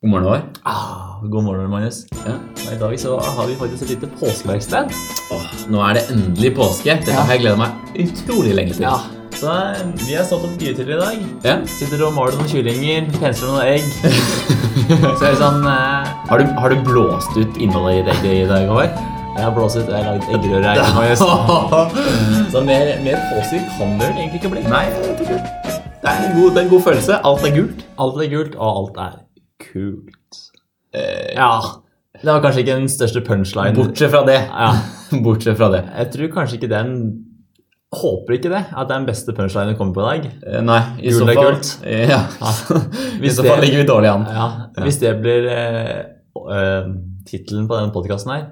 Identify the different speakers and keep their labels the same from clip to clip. Speaker 1: God morgen, Håvard.
Speaker 2: Ah, god morgen, Magnus.
Speaker 1: Ja.
Speaker 2: Og I dag så har vi faktisk et lite påskeverksted.
Speaker 1: Åh, nå er det endelig påske. Dette
Speaker 2: Ja.
Speaker 1: har jeg gleda meg utrolig lenge til.
Speaker 2: Så eh, vi har stått opp mye tidligere i dag.
Speaker 1: Ja.
Speaker 2: Sitter og maler noen kyllinger, pensler noen egg. så er det sånn eh,
Speaker 1: Har, du, har du blåst ut innholdet i reggae i dag, Håvard?
Speaker 2: Jeg har blåst ut, jeg har lagd eggerøre her. Magnus. Så mer, mer påske kan det vel egentlig ikke bli.
Speaker 1: Nei, jeg vet ikke. Det er, en god, det er en god følelse. Alt er gult.
Speaker 2: Alt er gult, og alt er kult.
Speaker 1: Eh,
Speaker 2: Ja. Det var kanskje ikke den største punchline.
Speaker 1: Bortsett fra det.
Speaker 2: Ja.
Speaker 1: Bortsett fra det.
Speaker 2: Jeg tror kanskje ikke den Håper ikke det, at det er den beste punchlinen du kommer på i dag.
Speaker 1: Eh, Nei, i
Speaker 2: Gult
Speaker 1: så
Speaker 2: er
Speaker 1: fall
Speaker 2: gult.
Speaker 1: Ja. I
Speaker 2: Hvis
Speaker 1: så
Speaker 2: det-
Speaker 1: fall ligger vi dårlig an.
Speaker 2: Ja, hvis det blir eh, eh, tittelen på denne podkasten her,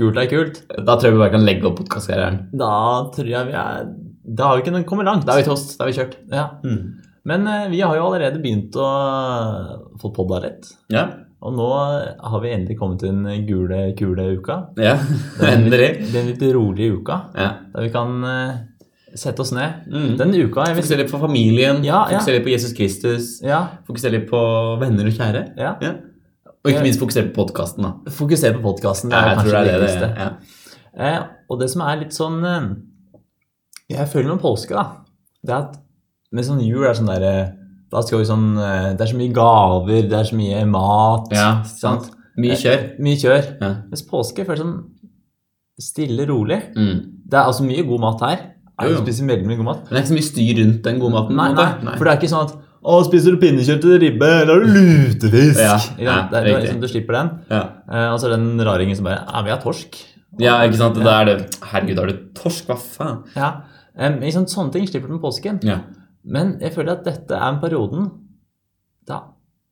Speaker 2: 'Gult er kult',
Speaker 1: Da tror jeg vi bare kan legge opp podkastkarrieren.
Speaker 2: da tror jeg vi er Da har vi ikke noe- kommet langt.
Speaker 1: Da er vi toast. Da er vi kjørt.
Speaker 2: ja.
Speaker 1: Mm.
Speaker 2: Men eh, vi har jo allerede begynt å få podda litt.
Speaker 1: Ja.
Speaker 2: Og nå har vi endelig kommet til den gule, kule uka.
Speaker 1: ja. Endelig.
Speaker 2: Den litt rolige uka,
Speaker 1: Ja.
Speaker 2: der vi kan eh, sette oss ned.
Speaker 1: Mm.
Speaker 2: Den uka jeg vil si
Speaker 1: Fokusere litt på familien,
Speaker 2: Ja, ja.
Speaker 1: fokusere litt på Jesus Kristus,
Speaker 2: ja,
Speaker 1: fokusere litt på venner og kjære.
Speaker 2: ja.
Speaker 1: Ja. Og ikke minst fokusere på podkasten, da.
Speaker 2: Fokusere på podkasten. Det
Speaker 1: Ja,
Speaker 2: er
Speaker 1: jeg tror
Speaker 2: kanskje
Speaker 1: det
Speaker 2: det
Speaker 1: er det
Speaker 2: viktigste.
Speaker 1: det ja.
Speaker 2: Eh, og det som er litt sånn eh, Jeg føler med påske, da. Det er at med sånn jul er sånn der eh, Da skal vi sånn eh, Det er så mye gaver, det er så mye mat.
Speaker 1: ja,
Speaker 2: ikke
Speaker 1: sant.
Speaker 2: sant?
Speaker 1: Mye kjør.
Speaker 2: Mye kjør.
Speaker 1: Ja.
Speaker 2: Mens påske føles sånn stille, rolig.
Speaker 1: Mm.
Speaker 2: Det er altså mye god mat her.
Speaker 1: Jo,
Speaker 2: Jeg
Speaker 1: jo.
Speaker 2: spiser veldig mye god mat.
Speaker 1: Men det er ikke så mye styr rundt den gode maten. på
Speaker 2: Nei,
Speaker 1: en
Speaker 2: nei,
Speaker 1: måte.
Speaker 2: For det er ikke sånn at å, spiser du pinnekjøtt til ribbe, eller har du lutefisk?
Speaker 1: Ja,
Speaker 2: Ikke sant?
Speaker 1: ja,
Speaker 2: det, er- det er
Speaker 1: riktig.
Speaker 2: liksom, du slipper den.
Speaker 1: ja.
Speaker 2: Eh, og så er det den raringen som bare Ja, vi har torsk.
Speaker 1: ja, ikke sant. Da er det Herregud, har du torsk? Hva faen?
Speaker 2: Ja. Eh, ikke sant, sånne ting slipper du med påsken.
Speaker 1: Ja.
Speaker 2: Men jeg føler at dette er en perioden da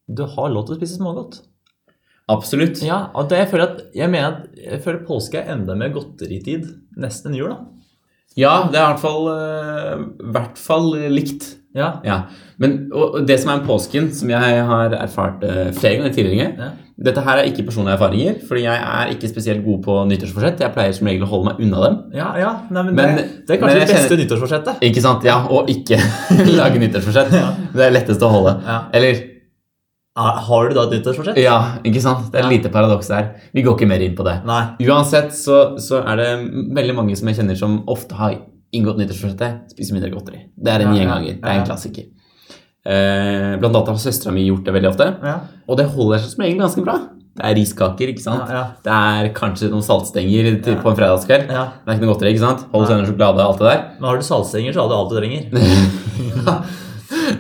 Speaker 2: du har lov til å spise smågodt.
Speaker 1: Absolutt.
Speaker 2: Ja, og det jeg føler at jeg mener at jeg føler påske er enda mer godteritid nesten enn jul, da.
Speaker 1: Ja, det er i hvert fall, eh, hvert fall likt.
Speaker 2: Ja.
Speaker 1: Ja. Men og, og det som er med påsken, som jeg har erfart eh, flere ganger tidligere
Speaker 2: Ja.
Speaker 1: Dette her er ikke personlige erfaringer, fordi jeg er ikke spesielt god på nyttårsforsett. Jeg pleier som regel å holde meg unna dem.
Speaker 2: Ja, ja. Nei, men,
Speaker 1: Men-
Speaker 2: det, det er
Speaker 1: men
Speaker 2: kanskje
Speaker 1: jeg
Speaker 2: det beste
Speaker 1: kjenner-
Speaker 2: nyttårsforsettet.
Speaker 1: Ikke sant? Ja, og ikke lage nyttårsforsett.
Speaker 2: Ja.
Speaker 1: Det er lettest å holde.
Speaker 2: Ja.
Speaker 1: Eller
Speaker 2: Ah, Har du da et nyttårsforsett?
Speaker 1: Ja, ikke sant? Det er et
Speaker 2: Ja.
Speaker 1: lite paradoks der. Vi går ikke mer inn på det.
Speaker 2: Nei.
Speaker 1: Uansett så, så er det veldig mange som jeg kjenner som ofte har inngått nyttårsforsettet, spiser mindre godteri. Det er en
Speaker 2: Ja, ja.
Speaker 1: gjenganger. Det er
Speaker 2: Ja, ja.
Speaker 1: en klassiker. Eh, blant annet har søstera mi gjort det veldig ofte,
Speaker 2: Ja.
Speaker 1: og det holder seg som regel ganske bra. Det er riskaker, ikke sant?
Speaker 2: Ja, ja.
Speaker 1: Det er kanskje noen saltstenger til,
Speaker 2: Ja.
Speaker 1: på en fredagskveld.
Speaker 2: ja.
Speaker 1: Det er ikke noe godteri, ikke sant? Hold
Speaker 2: Nei.
Speaker 1: tenner sjokolade, alt det der.
Speaker 2: Men har du saltstenger, så har du alt du trenger.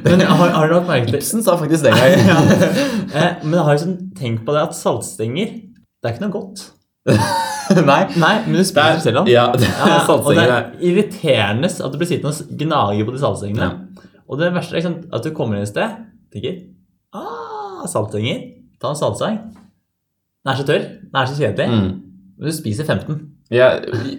Speaker 2: Men har, har du lagt merke til
Speaker 1: Ibsen sa faktisk det. Jeg.
Speaker 2: ja. eh, Men har du sånn tenkt på det at saltstenger, det er ikke noe godt?
Speaker 1: Nei.
Speaker 2: Nei, men du
Speaker 1: Det
Speaker 2: spiser
Speaker 1: er,
Speaker 2: det selv om.
Speaker 1: ja, det er
Speaker 2: Ja, og det
Speaker 1: saltstenger.
Speaker 2: er irriterende at du blir sittende og gnage på de saltstengene. Og det verste er liksom at du kommer inn et sted tenker ah, saltstenger. Ta en saltstang. Den er så tørr. Den er så kjedelig.
Speaker 1: Mm.
Speaker 2: Men du spiser 15.
Speaker 1: Ja,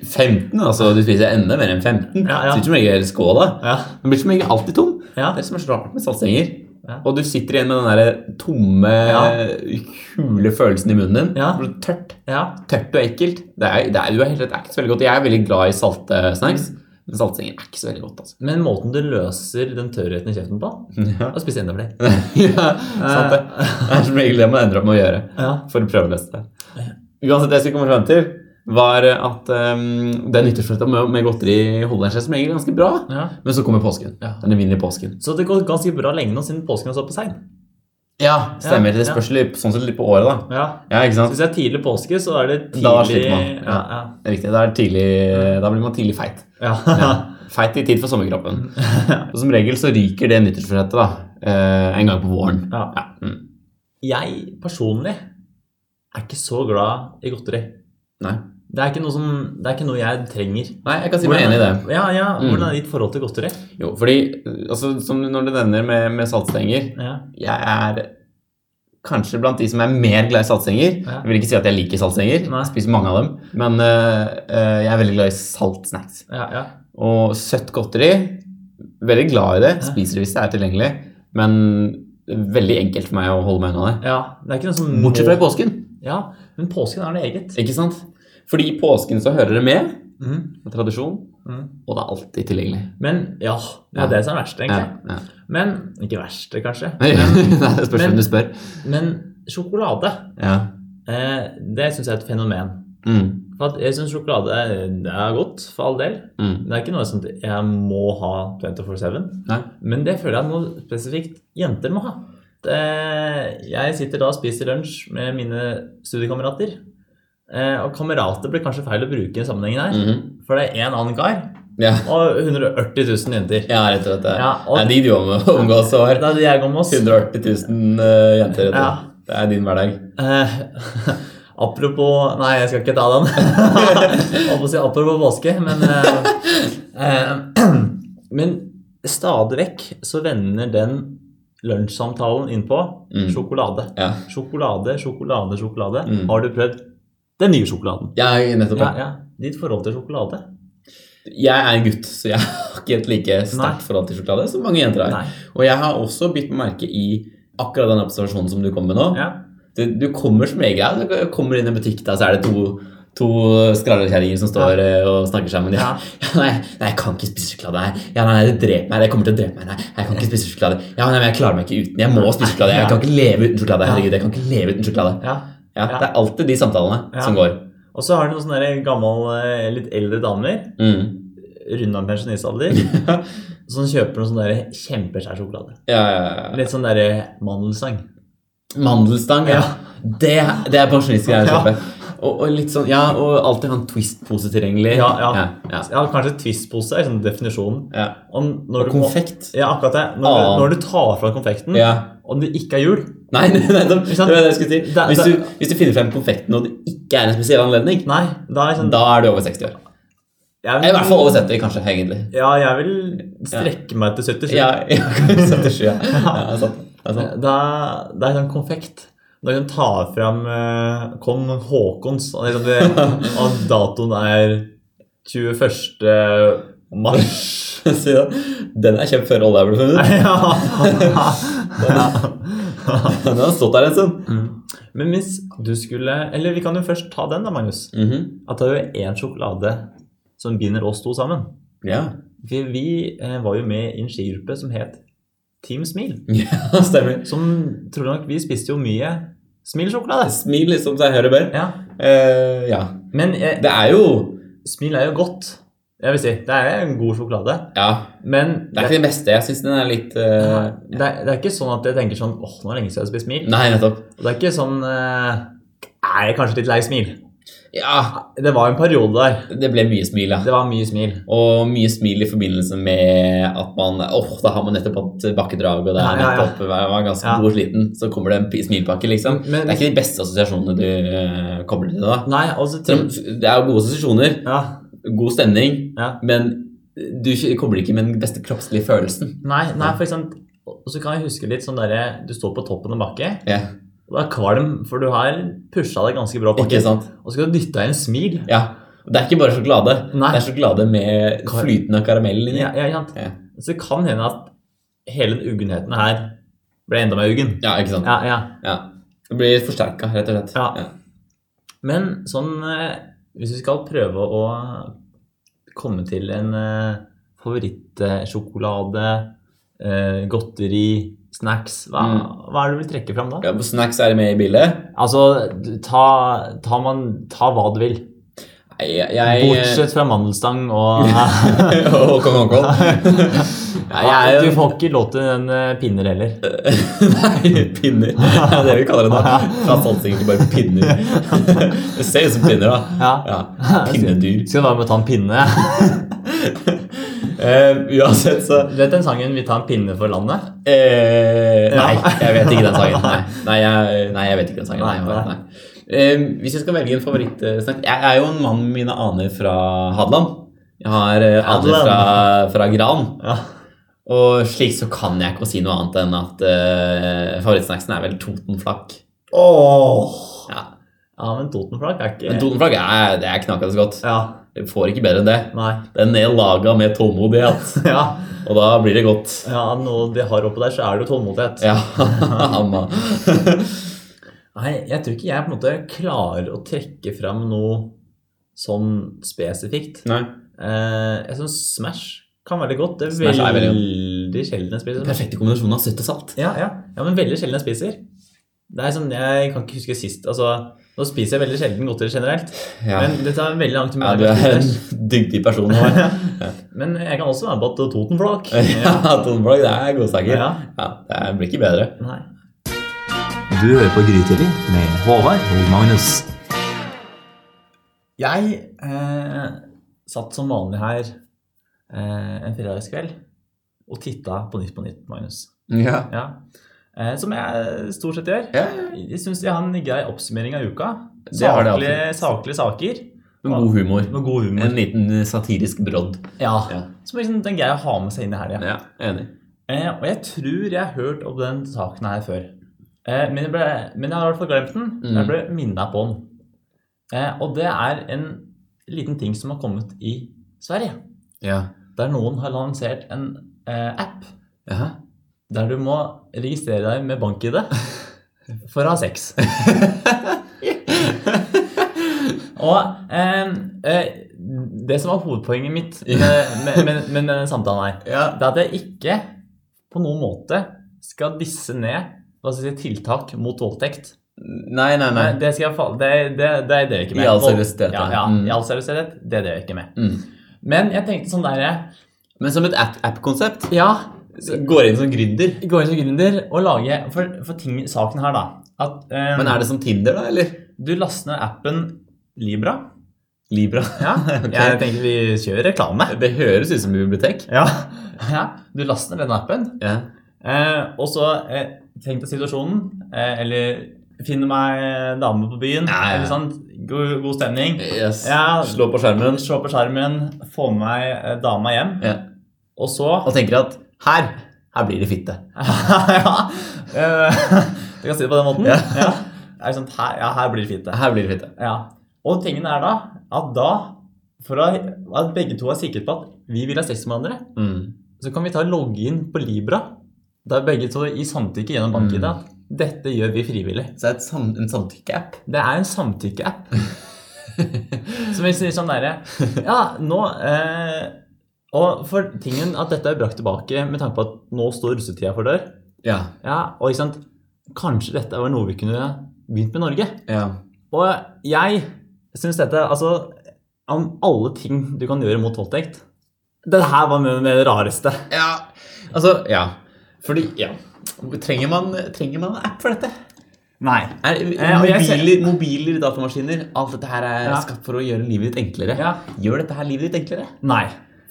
Speaker 1: 15, altså. Du spiser enda mer enn 15.
Speaker 2: Ja, ja.
Speaker 1: Du spiser som regel hele skåla.
Speaker 2: Ja.
Speaker 1: Den blir som regel alltid tom.
Speaker 2: ja.
Speaker 1: Det er som er så rart med saltstenger.
Speaker 2: Ja.
Speaker 1: Og du sitter igjen med den der tomme, hule følelsen i munnen din.
Speaker 2: Ja.
Speaker 1: Det blir Tørt
Speaker 2: ja.
Speaker 1: tørt og ekkelt. Det er, det er, du er helt rett, det er ikke så veldig godt. Jeg er veldig glad i salte snacks,
Speaker 2: Mm.
Speaker 1: men saltstenger er ikke så veldig godt, altså.
Speaker 2: Men måten du løser den tørrheten i kjeften på,
Speaker 1: Ja,
Speaker 2: er å spise enda flere.
Speaker 1: sant det. Det er som regel det man ender opp med å gjøre.
Speaker 2: Ja.
Speaker 1: for å prøve å løse det. Uansett, det jeg skulle komme frem til, var at um, den nyttårsfløyta med, med godteri holder seg som regel ganske bra.
Speaker 2: ja.
Speaker 1: Men så kommer påsken.
Speaker 2: Ja.
Speaker 1: Den evinnelige påsken.
Speaker 2: Så det går ganske bra lenge nå siden påsken har stått på sein.
Speaker 1: Ja, stemmer.
Speaker 2: Ja,
Speaker 1: Det spørs litt, sånn sett litt på året, da.
Speaker 2: Ja.
Speaker 1: Ja, ikke
Speaker 2: Så
Speaker 1: sant?
Speaker 2: hvis det er tidlig påske, så er det tidlig
Speaker 1: Da sliter man. Ja.
Speaker 2: Ja, ja.
Speaker 1: Riktig. Da, er det tidlig, da blir man tidlig feit.
Speaker 2: Ja.
Speaker 1: Ja. Feit i tid for sommerkroppen. Og som regel så ryker det nyttårsforsettet da, eh, en gang på våren.
Speaker 2: Ja.
Speaker 1: Ja. Mm.
Speaker 2: Jeg personlig er ikke så glad i godteri.
Speaker 1: Nei.
Speaker 2: Det er ikke noe, som, det er ikke noe jeg trenger.
Speaker 1: Nei, jeg kan si meg
Speaker 2: Hvordan-
Speaker 1: enig i det.
Speaker 2: Ja, ja,
Speaker 1: Mm.
Speaker 2: Hvordan er ditt forhold til godteri?
Speaker 1: Jo, fordi eh, altså, som når det nevner med, med saltstenger,
Speaker 2: Ja.
Speaker 1: jeg er kanskje blant de som er mer glad i saltstenger.
Speaker 2: Ja.
Speaker 1: Jeg vil ikke si at jeg liker saltstenger,
Speaker 2: Nei.
Speaker 1: jeg spiser mange av dem. Men øh, øh, jeg er veldig glad i saltsnacks.
Speaker 2: Ja, ja.
Speaker 1: Og søtt godteri, veldig glad i det.
Speaker 2: Ja.
Speaker 1: Spiser det hvis det er tilgjengelig. Men veldig enkelt for meg å holde meg unna det.
Speaker 2: ja. Det er ikke noe som
Speaker 1: Bortsett fra i påsken,
Speaker 2: Ja, Men påsken er noe eget.
Speaker 1: ikke sant? Fordi i påsken så hører det med,
Speaker 2: Mm.
Speaker 1: det er tradisjon,
Speaker 2: Mm.
Speaker 1: og det er alltid tilgjengelig.
Speaker 2: Men ja, det
Speaker 1: Ja.
Speaker 2: er det som er verst,
Speaker 1: Ja,
Speaker 2: egentlig.
Speaker 1: ja.
Speaker 2: Men ikke verst, kanskje.
Speaker 1: Nei, det spørs
Speaker 2: Men-
Speaker 1: hvem du spør.
Speaker 2: Men sjokolade,
Speaker 1: Ja.
Speaker 2: eh, det syns jeg er et fenomen.
Speaker 1: Mm.
Speaker 2: For at jeg syns sjokolade er- det er godt, for all del.
Speaker 1: Mm.
Speaker 2: Det er ikke noe sånt jeg må ha 24-7.
Speaker 1: Nei.
Speaker 2: Men det føler jeg at noe spesifikt jenter må ha. Det- Jeg sitter da og spiser lunsj med mine studiekamerater. Eh, Og kamerater blir kanskje feil å bruke i en sammenheng der.
Speaker 1: Mhm.
Speaker 2: For det er én annen kar
Speaker 1: Ja.
Speaker 2: og 180 000 jenter.
Speaker 1: Ja, rett og slett. Ja.
Speaker 2: Ja, og-
Speaker 1: Det er de du omgås omgås og har.
Speaker 2: Det er det jeg går med oss.
Speaker 1: 180 000 eh, jenter. Rett og slett.
Speaker 2: Ja.
Speaker 1: Det er din hverdag.
Speaker 2: Eh, apropos Nei, jeg skal ikke ta den. Jeg holdt på å si apropos påske, men eh, eh, Men stadig vekk så vender den lunsjsamtalen inn på
Speaker 1: Mm.
Speaker 2: sjokolade.
Speaker 1: Ja.
Speaker 2: Sjokolade, sjokolade, sjokolade.
Speaker 1: Mm.
Speaker 2: Har du prøvd den nye sjokoladen?
Speaker 1: Ja, nettopp.
Speaker 2: Ja,
Speaker 1: Ja,
Speaker 2: ja. Ditt forhold til sjokolade?
Speaker 1: Jeg er en gutt, så jeg har ikke et like sterkt
Speaker 2: Nei.
Speaker 1: forhold til sjokolade som mange jenter har.
Speaker 2: Nei.
Speaker 1: Og jeg har også bitt meg merke i akkurat den observasjonen som du kom med nå.
Speaker 2: Ja.
Speaker 1: Du, du kommer som regel her, du kommer inn i en butikk, da, så er det to, to skrallekjerringer som står eh, og snakker sammen. Ja.
Speaker 2: Ja.
Speaker 1: Ja, nei, nei, jeg kan ikke spise sjokolade her. Ja, nei, det dreper meg. Jeg kommer til å drepe meg. Nei, jeg kan ikke spise sjokolade. Ja, nei, men jeg klarer meg ikke uten. Jeg må spise sjokolade. Jeg kan ikke leve uten sjokolade. Herregud, jeg kan ikke leve uten sjokolade.
Speaker 2: ja.
Speaker 1: Ja, Det er alltid de samtalene
Speaker 2: Ja.
Speaker 1: som går.
Speaker 2: Og så har du noen sånne der gammel, eh, litt eldre damer
Speaker 1: Mm.
Speaker 2: runda pensjonistalder som kjøper noen sånn der kjempeskjær sjokolade.
Speaker 1: Ja, ja, ja.
Speaker 2: Litt sånn derre mandelsang.
Speaker 1: Mandelstang, ja. Det, det er pensjonistgreier å
Speaker 2: Ja.
Speaker 1: kjøpe. Og, og litt sånn, ja, og alltid ha en Twist-pose tilgjengelig.
Speaker 2: Ja, ja.
Speaker 1: ja,
Speaker 2: Ja, kanskje Twist-pose er liksom definisjonen.
Speaker 1: ja.
Speaker 2: Og
Speaker 1: Og
Speaker 2: når du må-
Speaker 1: konfekt.
Speaker 2: Ja, akkurat det. Når,
Speaker 1: Ah.
Speaker 2: du, når du tar fra konfekten,
Speaker 1: Ja.
Speaker 2: og det ikke er jul
Speaker 1: Nei, nei, nei, det
Speaker 2: Mm. Ikke sant?
Speaker 1: det var det jeg skulle si.
Speaker 2: Da-
Speaker 1: Hvis
Speaker 2: da-
Speaker 1: du, hvis du finner frem konfekten og det ikke er en spesiell anledning,
Speaker 2: Nei, da er jeg sånn
Speaker 1: da er du over 60 år.
Speaker 2: jeg
Speaker 1: I hvert fall over 70, kanskje, egentlig.
Speaker 2: Ja, jeg vil strekke meg til 77.
Speaker 1: Ja, ja 77, ja. ja det er sant. Det er sant.
Speaker 2: Da, da er jeg sånn konfekt. Da kan du ta fram eh, kong Haakons, og, liksom det, og datoen er 21. mars.
Speaker 1: Si det. Den er kjøpt før olja ble funnet.
Speaker 2: ja.
Speaker 1: Den har stått der en stund.
Speaker 2: Men hvis du skulle Eller vi kan jo først ta den, da, Magnus.
Speaker 1: Mhm.
Speaker 2: At det er jo én sjokolade som binder oss to sammen.
Speaker 1: Ja,
Speaker 2: For vi eh, var jo med i en skigruppe som het Team Smil.
Speaker 1: ja stemmer.
Speaker 2: Som tror nok vi spiste jo mye Smil-sjokolade.
Speaker 1: Smil liksom seg høyre bør.
Speaker 2: Ja.
Speaker 1: Eh, ja.
Speaker 2: Men eh,
Speaker 1: Det er jo
Speaker 2: Smil er jo godt. Jeg vil si, Det er en god sjokolade.
Speaker 1: Ja.
Speaker 2: Men
Speaker 1: Det er ikke det beste. Jeg syns den er litt
Speaker 2: det,
Speaker 1: eh,
Speaker 2: det, er, det er ikke sånn at jeg tenker sånn åh, nå er det lenge siden jeg har spist Smil.
Speaker 1: Nei, nettopp.
Speaker 2: Og det er ikke sånn eh, Er jeg kanskje litt lei Smil?
Speaker 1: Ja,
Speaker 2: Det var en periode der.
Speaker 1: det ble mye smil, ja.
Speaker 2: Det var mye smil.
Speaker 1: Og mye smil i forbindelse med at man åh, da har man nettopp hatt bakkedrag, og det
Speaker 2: Ja,
Speaker 1: er
Speaker 2: ja, ja.
Speaker 1: nettopp man er ganske
Speaker 2: Ja.
Speaker 1: god og sliten, så kommer det en p- smilpakke, liksom.
Speaker 2: Men-
Speaker 1: Det er ikke de beste assosiasjonene du eh, kobler til det, da.
Speaker 2: Nei, altså
Speaker 1: Selv om Det er jo gode assosiasjoner,
Speaker 2: Ja.
Speaker 1: god stemning,
Speaker 2: ja.
Speaker 1: men du k- kobler ikke med den beste kroppslige følelsen.
Speaker 2: Nei, nei, for eksempel Og så kan jeg huske litt sånn derre Du står på toppen av bakke,
Speaker 1: Ja,
Speaker 2: og du er kvalm, for du har pusha deg ganske bra
Speaker 1: ikke
Speaker 2: bakke.
Speaker 1: sant?
Speaker 2: Og så skal du dytte deg i en smil.
Speaker 1: Ja. Og Det er ikke bare sjokolade.
Speaker 2: Nei.
Speaker 1: Det er sjokolade med
Speaker 2: Kar-
Speaker 1: flytende karamell inni.
Speaker 2: Ja, ja, ikke sant?
Speaker 1: Ja.
Speaker 2: Så det kan hende at hele den uggenheten her ble enda mer uggen.
Speaker 1: Ja, ikke sant?
Speaker 2: Ja, ja.
Speaker 1: Ja. Det blir forsterka, rett og slett.
Speaker 2: Ja. Men sånn eh, Hvis vi skal prøve å komme til en eh, favorittsjokolade, eh, godteri, snacks Hva, hva er det du vil trekke fram da?
Speaker 1: Ja, på snacks er det med i bildet.
Speaker 2: Altså, du- ta, ta, man, ta hva du vil.
Speaker 1: Nei, jeg, eh, jeg
Speaker 2: Bortsett fra mandelstang og
Speaker 1: Og kong Håkon. Nei, jeg er
Speaker 2: Du
Speaker 1: jo
Speaker 2: får ikke lov til den eh, pinner heller.
Speaker 1: Nei, pinner. Det er det vi kaller det nå. Fra saltsinger til bare pinner. Det ser ut som pinner, da.
Speaker 2: Ja.
Speaker 1: Ja, Pinnedyr.
Speaker 2: Skal du være med å ta en pinne?
Speaker 1: Eh, uansett, så
Speaker 2: Du vet den sangen 'Vi tar en pinne for landet'?
Speaker 1: eh, Nei,
Speaker 2: Ja.
Speaker 1: jeg vet ikke den sangen. Nei, nei, jeg, nei jeg vet ikke den sangen. Nei,
Speaker 2: Nei,
Speaker 1: nei. Eh, hvis jeg skal velge en favorittsnakk Jeg er jo en mann med mine aner fra Hadeland. Jeg har eh, aner
Speaker 2: Hadeland.
Speaker 1: fra, fra Gran.
Speaker 2: Ja.
Speaker 1: Og slik så kan jeg ikke si noe annet enn at uh, favorittsnacksen er vel Totenflak.
Speaker 2: Åh.
Speaker 1: Ja.
Speaker 2: ja, men Totenflak er ikke
Speaker 1: Men Totenflak er, det er knakende godt.
Speaker 2: Ja.
Speaker 1: Det får ikke bedre enn det.
Speaker 2: Nei.
Speaker 1: Den er laga med tålmodighet,
Speaker 2: Ja.
Speaker 1: og da blir det godt.
Speaker 2: ja, noe de har oppå der, så er det jo tålmodighet.
Speaker 1: Ja, amma.
Speaker 2: Nei, jeg tror ikke jeg på en måte klarer å trekke fram noe sånn spesifikt.
Speaker 1: Nei.
Speaker 2: Eh, jeg syns Smash kan være litt godt. Det er
Speaker 1: Smash er veldig
Speaker 2: veldig sjelden jeg spiser Smash.
Speaker 1: Perfekte kombinasjonen av søtt og salt.
Speaker 2: Ja, ja. ja, men veldig sjelden jeg spiser. Det er sånn, Jeg kan ikke huske sist. altså, Nå spiser jeg veldig sjelden godteri generelt.
Speaker 1: Ja.
Speaker 2: Men det tar veldig lang tid.
Speaker 1: ja,
Speaker 2: med
Speaker 1: du
Speaker 2: meg å
Speaker 1: er
Speaker 2: spise.
Speaker 1: en dyktig person. Håvard.
Speaker 2: Men jeg kan også være på et Totenflak.
Speaker 1: Ja, Tonblogg, det er godsaker.
Speaker 2: Ja.
Speaker 1: Ja. det er- blir ikke bedre.
Speaker 2: Nei.
Speaker 3: Du hører på Grytidlig med Håvard og Magnus.
Speaker 2: Jeg eh, satt som vanlig her eh, en fredagskveld og titta på Nytt på Nytt, Magnus.
Speaker 1: Ja.
Speaker 2: Ja. Eh, som jeg stort sett gjør.
Speaker 1: Ja.
Speaker 2: Jeg syns de har en grei oppsummering av uka.
Speaker 1: Det har de
Speaker 2: Saklige, saklige saker
Speaker 1: Med god humor.
Speaker 2: med god humor.
Speaker 1: En liten eh, satirisk brodd.
Speaker 2: Ja.
Speaker 1: Ja.
Speaker 2: Som liksom, den greier å ha med seg inn i helga.
Speaker 1: Ja, Enig.
Speaker 2: Eh, og jeg tror jeg har hørt om den saken her før. Eh, men, jeg ble, men jeg har i hvert fall glemt den.
Speaker 1: Mm.
Speaker 2: Jeg ble minna på den. Eh, og det er en liten ting som har kommet i Sverige.
Speaker 1: Ja.
Speaker 2: Der noen har lansert en eh, app
Speaker 1: Jaha.
Speaker 2: der du må registrere deg med bank-ID for å ha sex. og eh, eh, det som var hovedpoenget mitt med, med, med, med denne samtalen her,
Speaker 1: Ja.
Speaker 2: det er at jeg ikke på noen måte skal disse ned hva skal jeg si, tiltak mot voldtekt.
Speaker 1: Nei, nei, nei.
Speaker 2: Nei, Det, skal jeg, fa- det, det, det drev jeg ikke med.
Speaker 1: I all
Speaker 2: Vold-
Speaker 1: seriøsitet,
Speaker 2: Ja,
Speaker 1: ja.
Speaker 2: ja,
Speaker 1: Mm.
Speaker 2: i all seriøsitet. Det drev jeg ikke med.
Speaker 1: Mm.
Speaker 2: Men jeg tenkte sånn der
Speaker 1: Men som et app- app-konsept
Speaker 2: Ja,
Speaker 1: går inn som gründer.
Speaker 2: gå inn som gründer og lage For, for ting, saken her, da at eh,
Speaker 1: Men er det som Tinder, da? Eller
Speaker 2: du laster ned appen Libra.
Speaker 1: Libra?
Speaker 2: Ja, Jeg tenkte vi kjører reklame.
Speaker 1: Det høres ut som bibliotek.
Speaker 2: Ja. ja. Du laster ned den appen,
Speaker 1: Ja.
Speaker 2: Eh, og så eh, tenk deg situasjonen, eh, eller finne meg en dame på byen,
Speaker 1: Ja, ja, ja.
Speaker 2: eller sant? God, god stemning.
Speaker 1: Yes.
Speaker 2: Ja.
Speaker 1: Slå på skjermen
Speaker 2: Slå på skjermen, få med meg eh, dama hjem,
Speaker 1: ja.
Speaker 2: og så
Speaker 1: og tenker at her her blir det fitte.
Speaker 2: Ja, eh, du kan si det på den måten.
Speaker 1: Ja.
Speaker 2: Ja. Er det sant? Her, ja, her blir det fint. det.
Speaker 1: Her blir det fitte.
Speaker 2: Ja. Og tingen er da at da, for å, at begge to er sikre på at vi vil ha sex med hverandre,
Speaker 1: Mm.
Speaker 2: så kan vi ta logge inn på Libra. Da er begge to i samtykke gjennom bank-ID.
Speaker 1: Mm.
Speaker 2: at Dette gjør vi frivillig.
Speaker 1: Så det er et sam en samtykke-app.
Speaker 2: Det er en samtykke-app. Som vi sier sånn derre Ja, nå eh, Og for tingen at dette er brakt tilbake med tanke på at nå står russetida for dør.
Speaker 1: Ja.
Speaker 2: Ja, og ikke sant Kanskje dette var noe vi kunne begynt med i Norge.
Speaker 1: ja.
Speaker 2: Og jeg syns dette Altså, om alle ting du kan gjøre mot voldtekt Det her var med med det rareste.
Speaker 1: Ja. Altså, ja. Fordi, ja. Trenger man, trenger man en app for dette?
Speaker 2: Nei.
Speaker 1: Er,
Speaker 2: og jeg ser-
Speaker 1: mobiler, mobiler, datamaskiner, alt dette her er
Speaker 2: Ja.
Speaker 1: skapt for å gjøre livet ditt enklere.
Speaker 2: Ja.
Speaker 1: Gjør dette her livet ditt enklere?
Speaker 2: Nei.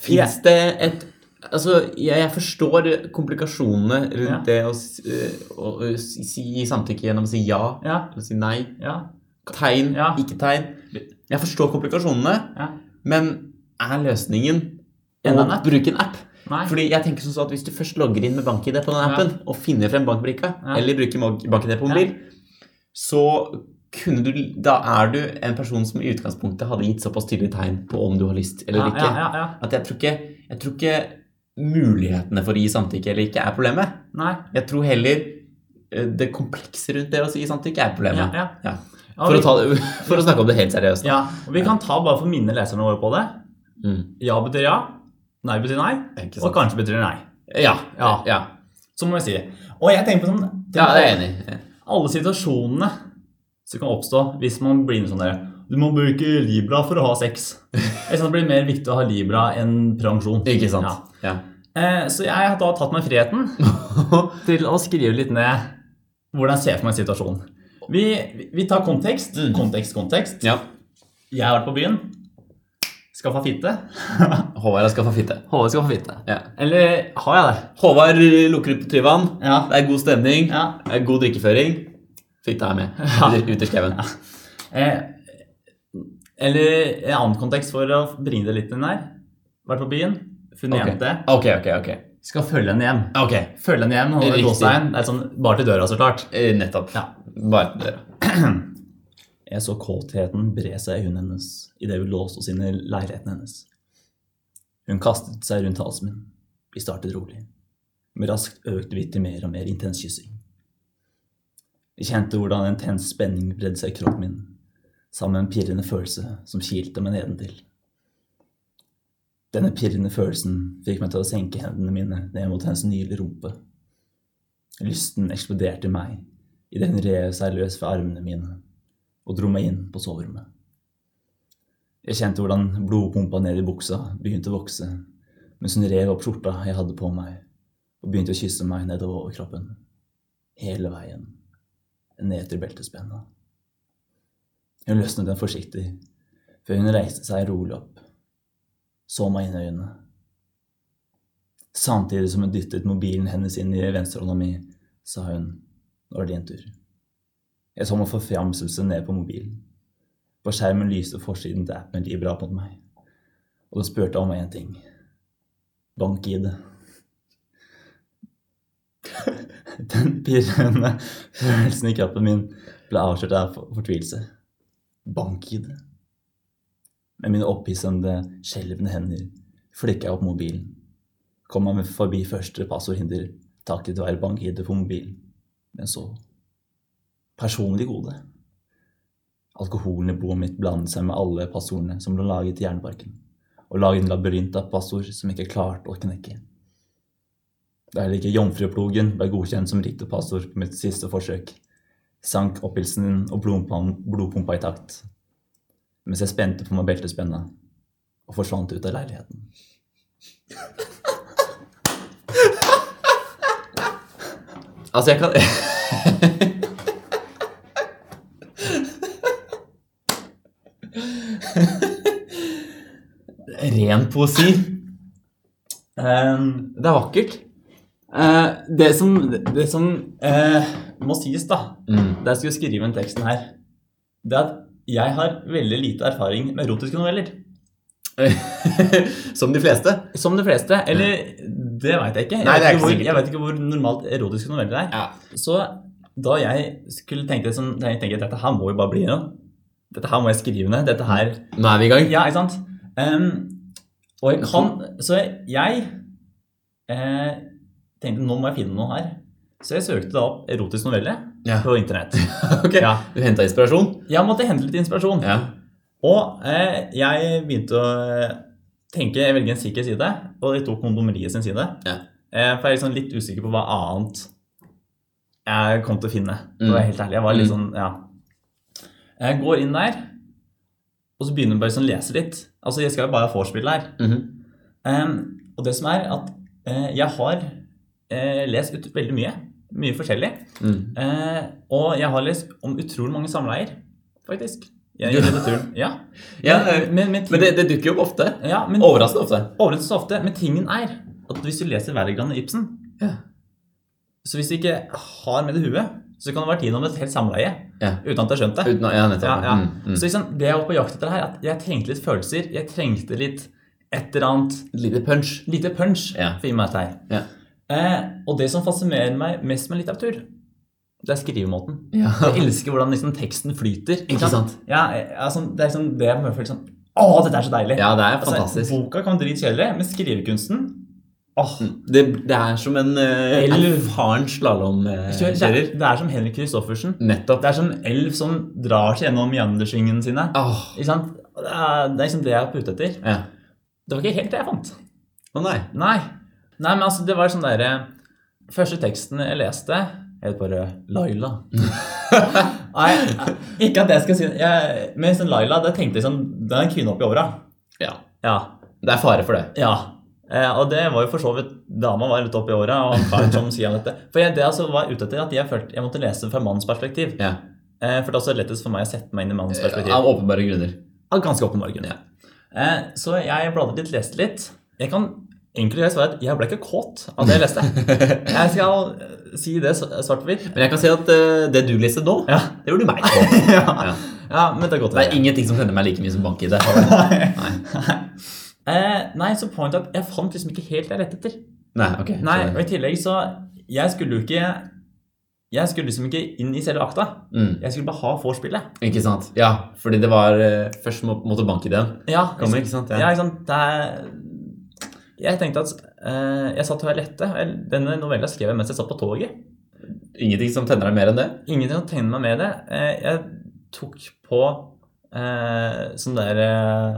Speaker 1: Fins det et Altså, jeg, jeg forstår komplikasjonene rundt
Speaker 2: Ja.
Speaker 1: det å, s- øh, å, å si, si samtykke gjennom å si ja
Speaker 2: Ja.
Speaker 1: eller si nei.
Speaker 2: Ja.
Speaker 1: Tegn,
Speaker 2: Ja.
Speaker 1: ikke tegn. Jeg forstår komplikasjonene,
Speaker 2: ja.
Speaker 1: men er løsningen
Speaker 2: Enda
Speaker 1: å
Speaker 2: en app?
Speaker 1: bruke en app?
Speaker 2: Nei.
Speaker 1: Fordi jeg tenker som så at Hvis du først logger inn med bank-ID på den appen, og finner frem bankbrikka,
Speaker 2: Ja.
Speaker 1: eller bruker mag- bank-ID på mobil, så kunne du, da er du en person som i utgangspunktet hadde gitt såpass tydelige tegn på om du har lyst eller
Speaker 2: ja,
Speaker 1: ikke.
Speaker 2: ja, ja, ja.
Speaker 1: At jeg tror ikke, jeg tror ikke mulighetene for å gi samtykke eller ikke er problemet.
Speaker 2: Nei.
Speaker 1: Jeg tror heller eh, det komplekse rundt det å si samtykke er
Speaker 2: Ja,
Speaker 1: problemet.
Speaker 2: ja.
Speaker 1: Ja.
Speaker 2: Ja,
Speaker 1: For,
Speaker 2: vi-
Speaker 1: å ta det, for å snakke om det helt seriøst.
Speaker 2: Ja, og Vi kan ta bare for mine leserne våre på det.
Speaker 1: Mm.
Speaker 2: Ja betyr ja, nei betyr nei,
Speaker 1: Ikke
Speaker 2: og
Speaker 1: sant?
Speaker 2: kanskje betyr nei.
Speaker 1: Ja, ja,
Speaker 2: Ja.
Speaker 1: ja.
Speaker 2: Så må vi si. Og jeg tenker på sånn
Speaker 1: ja det er jeg enig i.
Speaker 2: Alle situasjonene som kan oppstå hvis man blir med sånn der Du må bruke Libra for å ha sex. Jeg synes det blir mer viktig å ha Libra enn prevensjon.
Speaker 1: Ikke sant?
Speaker 2: Ja.
Speaker 1: Ja.
Speaker 2: Eh, Så jeg har da tatt meg friheten til å skrive litt ned hvordan jeg ser for meg situasjonen. Vi, vi tar kontekst.
Speaker 1: Mm.
Speaker 2: Kontekst, kontekst.
Speaker 1: ja.
Speaker 2: Jeg har vært på byen. Skaffa fitte.
Speaker 1: Håvard har skaffa fitte.
Speaker 2: Håvard skaffa fitte.
Speaker 1: Ja.
Speaker 2: Eller har jeg det?
Speaker 1: Håvard lukker ut på Tryvann.
Speaker 2: Ja.
Speaker 1: Det er god stemning.
Speaker 2: ja.
Speaker 1: Det er god drikkeføring. Fitta er med.
Speaker 2: Ja.
Speaker 1: Ut- Ut i skauen.
Speaker 2: Eh, eller en annen kontekst for å bringe det litt inn her. Vært på byen, funnet
Speaker 1: Ok.
Speaker 2: en jente.
Speaker 1: Ok, ok, ok.
Speaker 2: Skal følge henne hjem.
Speaker 1: Ok,
Speaker 2: Følge henne hjem, holde
Speaker 1: Riktig.
Speaker 2: gåstein. Det er sånn bare til døra, så klart.
Speaker 1: Eh, Nettopp.
Speaker 2: Ja.
Speaker 1: Bare til døra.
Speaker 2: Jeg så kåtheten bre seg i hunden hennes idet vi låste oss inn i leiligheten hennes. Hun kastet seg rundt halsen min. Vi startet rolig, men raskt økte vi til mer og mer intens kyssing. Jeg kjente hvordan en intens spenning bredde seg i kroppen min, sammen med en pirrende følelse som kilte meg nedentil. Denne pirrende følelsen fikk meg til å senke hendene mine ned mot hennes nydelige rumpe. Lysten eksploderte i meg, Idet hun rev seg løs fra armene mine og dro meg inn på soverommet. Jeg kjente hvordan blodpumpa ned i buksa begynte å vokse mens hun rev opp skjorta jeg hadde på meg, og begynte å kysse meg nedover overkroppen. Hele veien. Ned til beltespenna. Hun løsnet den forsiktig, før hun reiste seg rolig opp. Så meg inn i øynene. Samtidig som hun dyttet mobilen hennes inn i venstrehånda mi, sa hun nå er det din tur. Jeg så med forfjamselse ned på mobilen. På skjermen lyste forsiden til appen Libra mot meg, og det spurte om én ting. Bank-ID. Den pirrende følelsen i kroppen min ble avslørt av for- fortvilelse. Bank-ID. Med mine opphissende, skjelvende hender flikka jeg opp mobilen. Kom meg forbi første passordhinder takket være bank-ID på mobilen. Men så Personlig gode. Alkoholen i blodet mitt blandet seg med alle passordene som ble laget i Jernparken, og laget en labyrint av passord som jeg ikke klarte å knekke. Da heller ikke Jomfruplogen ble godkjent som riktig passord på mitt siste forsøk, sank oppilsen og blodpam- blodpumpa i takt, mens jeg spente på meg beltespenna og forsvant ut av leiligheten. Altså, jeg kan
Speaker 1: Ren poesi.
Speaker 2: Ehm, Det er vakkert. Eh, det som, det som eh, må sies, da,
Speaker 1: Mm.
Speaker 2: da jeg skulle skrive den teksten her, det er at jeg har veldig lite erfaring med erotiske noveller.
Speaker 1: Som de fleste.
Speaker 2: Som de fleste. Eller det veit jeg ikke. Jeg,
Speaker 1: Nei, det er
Speaker 2: vet
Speaker 1: ikke
Speaker 2: hvor,
Speaker 1: sikkert.
Speaker 2: jeg vet ikke hvor normalt erotiske noveller er.
Speaker 1: Ja.
Speaker 2: Så da jeg skulle tenke sånn, da jeg tenkte, dette her må jo bare bli noe. Dette her må jeg skrive ned. Dette her
Speaker 1: Nå er vi i gang.
Speaker 2: Ja, ikke sant? Ehm, og jeg kan Så jeg eh, tenkte nå må jeg finne noe her. Så jeg søkte da opp erotisk novelle
Speaker 1: Ja.
Speaker 2: på internett.
Speaker 1: Ok.
Speaker 2: Ja.
Speaker 1: Du henta inspirasjon?
Speaker 2: Jeg måtte hente litt inspirasjon.
Speaker 1: Ja.
Speaker 2: Og eh, jeg begynte å eh, tenke Jeg velger en sikker side, og jeg tok Kondomeriet sin side.
Speaker 1: Ja.
Speaker 2: Eh, for jeg er liksom litt usikker på hva annet jeg kom til å finne. For å
Speaker 1: Mm.
Speaker 2: være helt ærlig. Jeg var litt
Speaker 1: Mm.
Speaker 2: sånn, ja. Jeg går inn der, og så begynner jeg bare sånn å lese litt. Altså, jeg skal jo bare ha vorspiel her.
Speaker 1: Mhm.
Speaker 2: Ehm, og det som er at eh, jeg har eh, lest ut veldig mye. Mye forskjellig.
Speaker 1: Mm.
Speaker 2: Eh, og jeg har lest om utrolig mange samleier, faktisk. Jeg,
Speaker 1: Du-
Speaker 2: i litteraturen. Ja.
Speaker 1: Ja, eh,
Speaker 2: men, men, men, ting,
Speaker 1: Men det, det dukker jo opp ofte.
Speaker 2: ja, men
Speaker 1: Overraskende ofte.
Speaker 2: overraskende så ofte. Men tingen er at hvis du leser Wergeland og Ibsen
Speaker 1: Ja.
Speaker 2: Så hvis du ikke har med det huet, så kan det være tiden om et helt samleie
Speaker 1: Ja.
Speaker 2: uten at du har skjønt det.
Speaker 1: Uten å, ja, nettopp.
Speaker 2: Ja, ja.
Speaker 1: Mm, mm.
Speaker 2: Så liksom, det jeg var på jakt etter her, at jeg trengte litt følelser. Jeg trengte litt et eller annet
Speaker 1: Et lite punch.
Speaker 2: lite punch
Speaker 1: Ja.
Speaker 2: for å gi meg dette her.
Speaker 1: Ja.
Speaker 2: Eh, og det som fascinerer meg mest med litteratur, det er skrivemåten.
Speaker 1: Ja.
Speaker 2: Jeg elsker hvordan liksom teksten flyter.
Speaker 1: Ikke sant?
Speaker 2: Ja, eh, altså, det er liksom det jeg bare føler sånn Å, dette er så deilig!
Speaker 1: Ja, det er
Speaker 2: Altså,
Speaker 1: fantastisk.
Speaker 2: boka kan være dritkjedelig, men skrivekunsten åh,
Speaker 1: Det, det er som en eh,
Speaker 2: Elv.
Speaker 1: erfaren eh,
Speaker 2: kjør, det,
Speaker 1: slalåmkjører.
Speaker 2: er- det er som Henrik Kristoffersen.
Speaker 1: Nettopp.
Speaker 2: Det er som elv som drar seg gjennom meandersyngene sine.
Speaker 1: Åh,
Speaker 2: Ikke sant? Det er, det er liksom det jeg er på ute etter.
Speaker 1: ja.
Speaker 2: Det var ikke helt det jeg fant.
Speaker 1: Å nei.
Speaker 2: Nei. Nei, men altså, det var sånn derre Første teksten jeg leste, het bare Laila. Nei, ikke at jeg skal si jeg, Men sånn Laila, det tenkte jeg sånn Det er en kvinne oppi åra.
Speaker 1: Ja.
Speaker 2: Ja.
Speaker 1: Det er fare for det.
Speaker 2: ja. Eh, og det var jo for så vidt Dama var litt oppi åra, og karen som sier dette. For jeg, det altså var ute etter at jeg følte jeg måtte lese fra mannens perspektiv.
Speaker 1: Ja.
Speaker 2: Eh, for det er også lettest for meg å sette meg inn i mannens perspektiv.
Speaker 1: Av åpenbare grunner.
Speaker 2: Av ganske åpenbare grunner. Eh, så jeg bladde litt, leste litt. Jeg kan enkelt og greit svare at jeg ble ikke kåt av det jeg leste. Jeg skal eh, si det s- svart på hvitt.
Speaker 1: Men jeg kan si at eh, det du leste nå,
Speaker 2: Ja.
Speaker 1: det gjorde meg på.
Speaker 2: ja. men det er godt å
Speaker 1: Det er
Speaker 2: høre.
Speaker 1: ingenting som sender meg like mye som bank-ID. Nei.
Speaker 2: Eh, nei, så point at jeg fant liksom ikke helt det jeg lette etter.
Speaker 1: Nei, ok.
Speaker 2: Nei,
Speaker 1: skjønner.
Speaker 2: og i tillegg så Jeg skulle jo ikke Jeg skulle liksom ikke inn i selve akta.
Speaker 1: Mm,
Speaker 2: Jeg skulle bare ha vorspielet.
Speaker 1: ikke sant. Ja, fordi det var eh, Først må, måtte bank-ID-en
Speaker 2: Ja,
Speaker 1: komme, ikke sant?
Speaker 2: Ja, ikke sant. Det er, jeg tenkte at eh, Jeg satt og jeg lette. og jeg- Denne novella skrev jeg mens jeg satt på toget.
Speaker 1: Ingenting som tenner deg mer enn det?
Speaker 2: Ingenting å tegne meg med det. Eh, Jeg tok på eh, sånn der eh,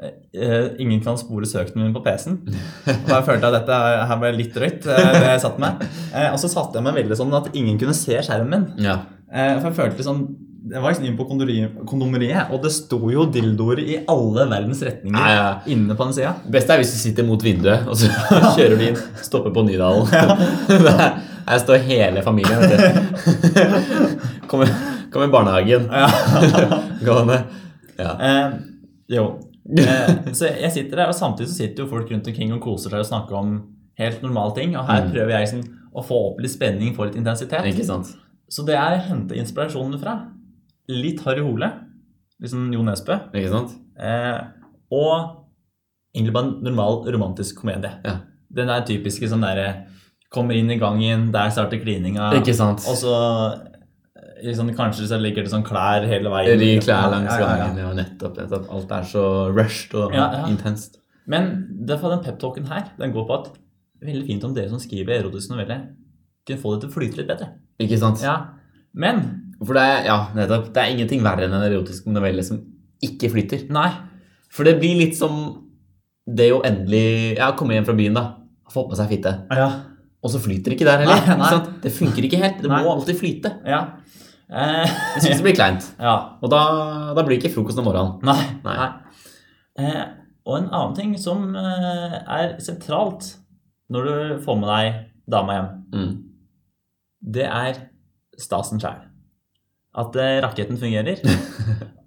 Speaker 2: eh, Ingen kan spore søkene mine på PC-en. Og jeg følte at dette her ble litt drøyt. eh, det jeg satt med. Eh, og så satte jeg meg veldig sånn at ingen kunne se skjermen min.
Speaker 1: Ja.
Speaker 2: Eh, for jeg følte sånn Jeg var liksom inne på kondori- kondomeriet, og det sto jo dildoer i alle verdens retninger
Speaker 1: Ja, ja.
Speaker 2: inne på den sida.
Speaker 1: Det beste er hvis du sitter mot vinduet, og så kjører du inn, stopper på Nydalen. Her står hele familien. vet du. Kommer, kommer i barnehagen. Gående. Ja.
Speaker 2: Eh, jo. Eh, så jeg sitter der, og samtidig så sitter jo folk rundt omkring og koser seg og snakker om helt normale ting. Og her prøver jeg liksom å få opp litt spenning, få litt intensitet.
Speaker 1: Mm. Ikke sant?
Speaker 2: Så det er å hente inspirasjonen fra. Litt Harry Hole, liksom Jo Nesbø.
Speaker 1: Ikke sant?
Speaker 2: Eh, og egentlig bare en normal romantisk komedie.
Speaker 1: Ja.
Speaker 2: Den der typiske sånn derre Kommer inn i gangen, der starter klininga.
Speaker 1: Ikke sant?
Speaker 2: Og så eh, liksom, kanskje så ligger det sånn klær hele veien.
Speaker 1: De klær langs
Speaker 2: Ja, ja, ja.
Speaker 1: gangen. Ja, nettopp, nettopp. Alt er så rushed og
Speaker 2: Ja, ja.
Speaker 1: intenst.
Speaker 2: Men derfor den pep-talken her, den går på at veldig fint om dere som skriver erotiske noveller, kunne få det til å flyte litt bedre.
Speaker 1: Ikke sant?
Speaker 2: Ja, Men
Speaker 1: For det er, ja, nettopp, det er ingenting verre enn en erotisk novelle som ikke flyter.
Speaker 2: nei.
Speaker 1: For det blir litt som det å endelig ja, komme hjem fra byen, da. Har fått med seg fitte.
Speaker 2: Ja.
Speaker 1: Og så flyter det ikke der heller.
Speaker 2: Nei, nei.
Speaker 1: Ikke sant? Det funker ikke helt. Det
Speaker 2: Nei.
Speaker 1: må alltid flyte.
Speaker 2: ja. Eh,
Speaker 1: Jeg synes det blir kleint.
Speaker 2: ja.
Speaker 1: Og da, da blir det ikke frokost om morgenen.
Speaker 2: Nei.
Speaker 1: Nei.
Speaker 2: Eh, og en annen ting som eh, er sentralt når du får med deg dama hjem,
Speaker 1: Mm.
Speaker 2: det er stasen sjæl. At eh, raketten fungerer.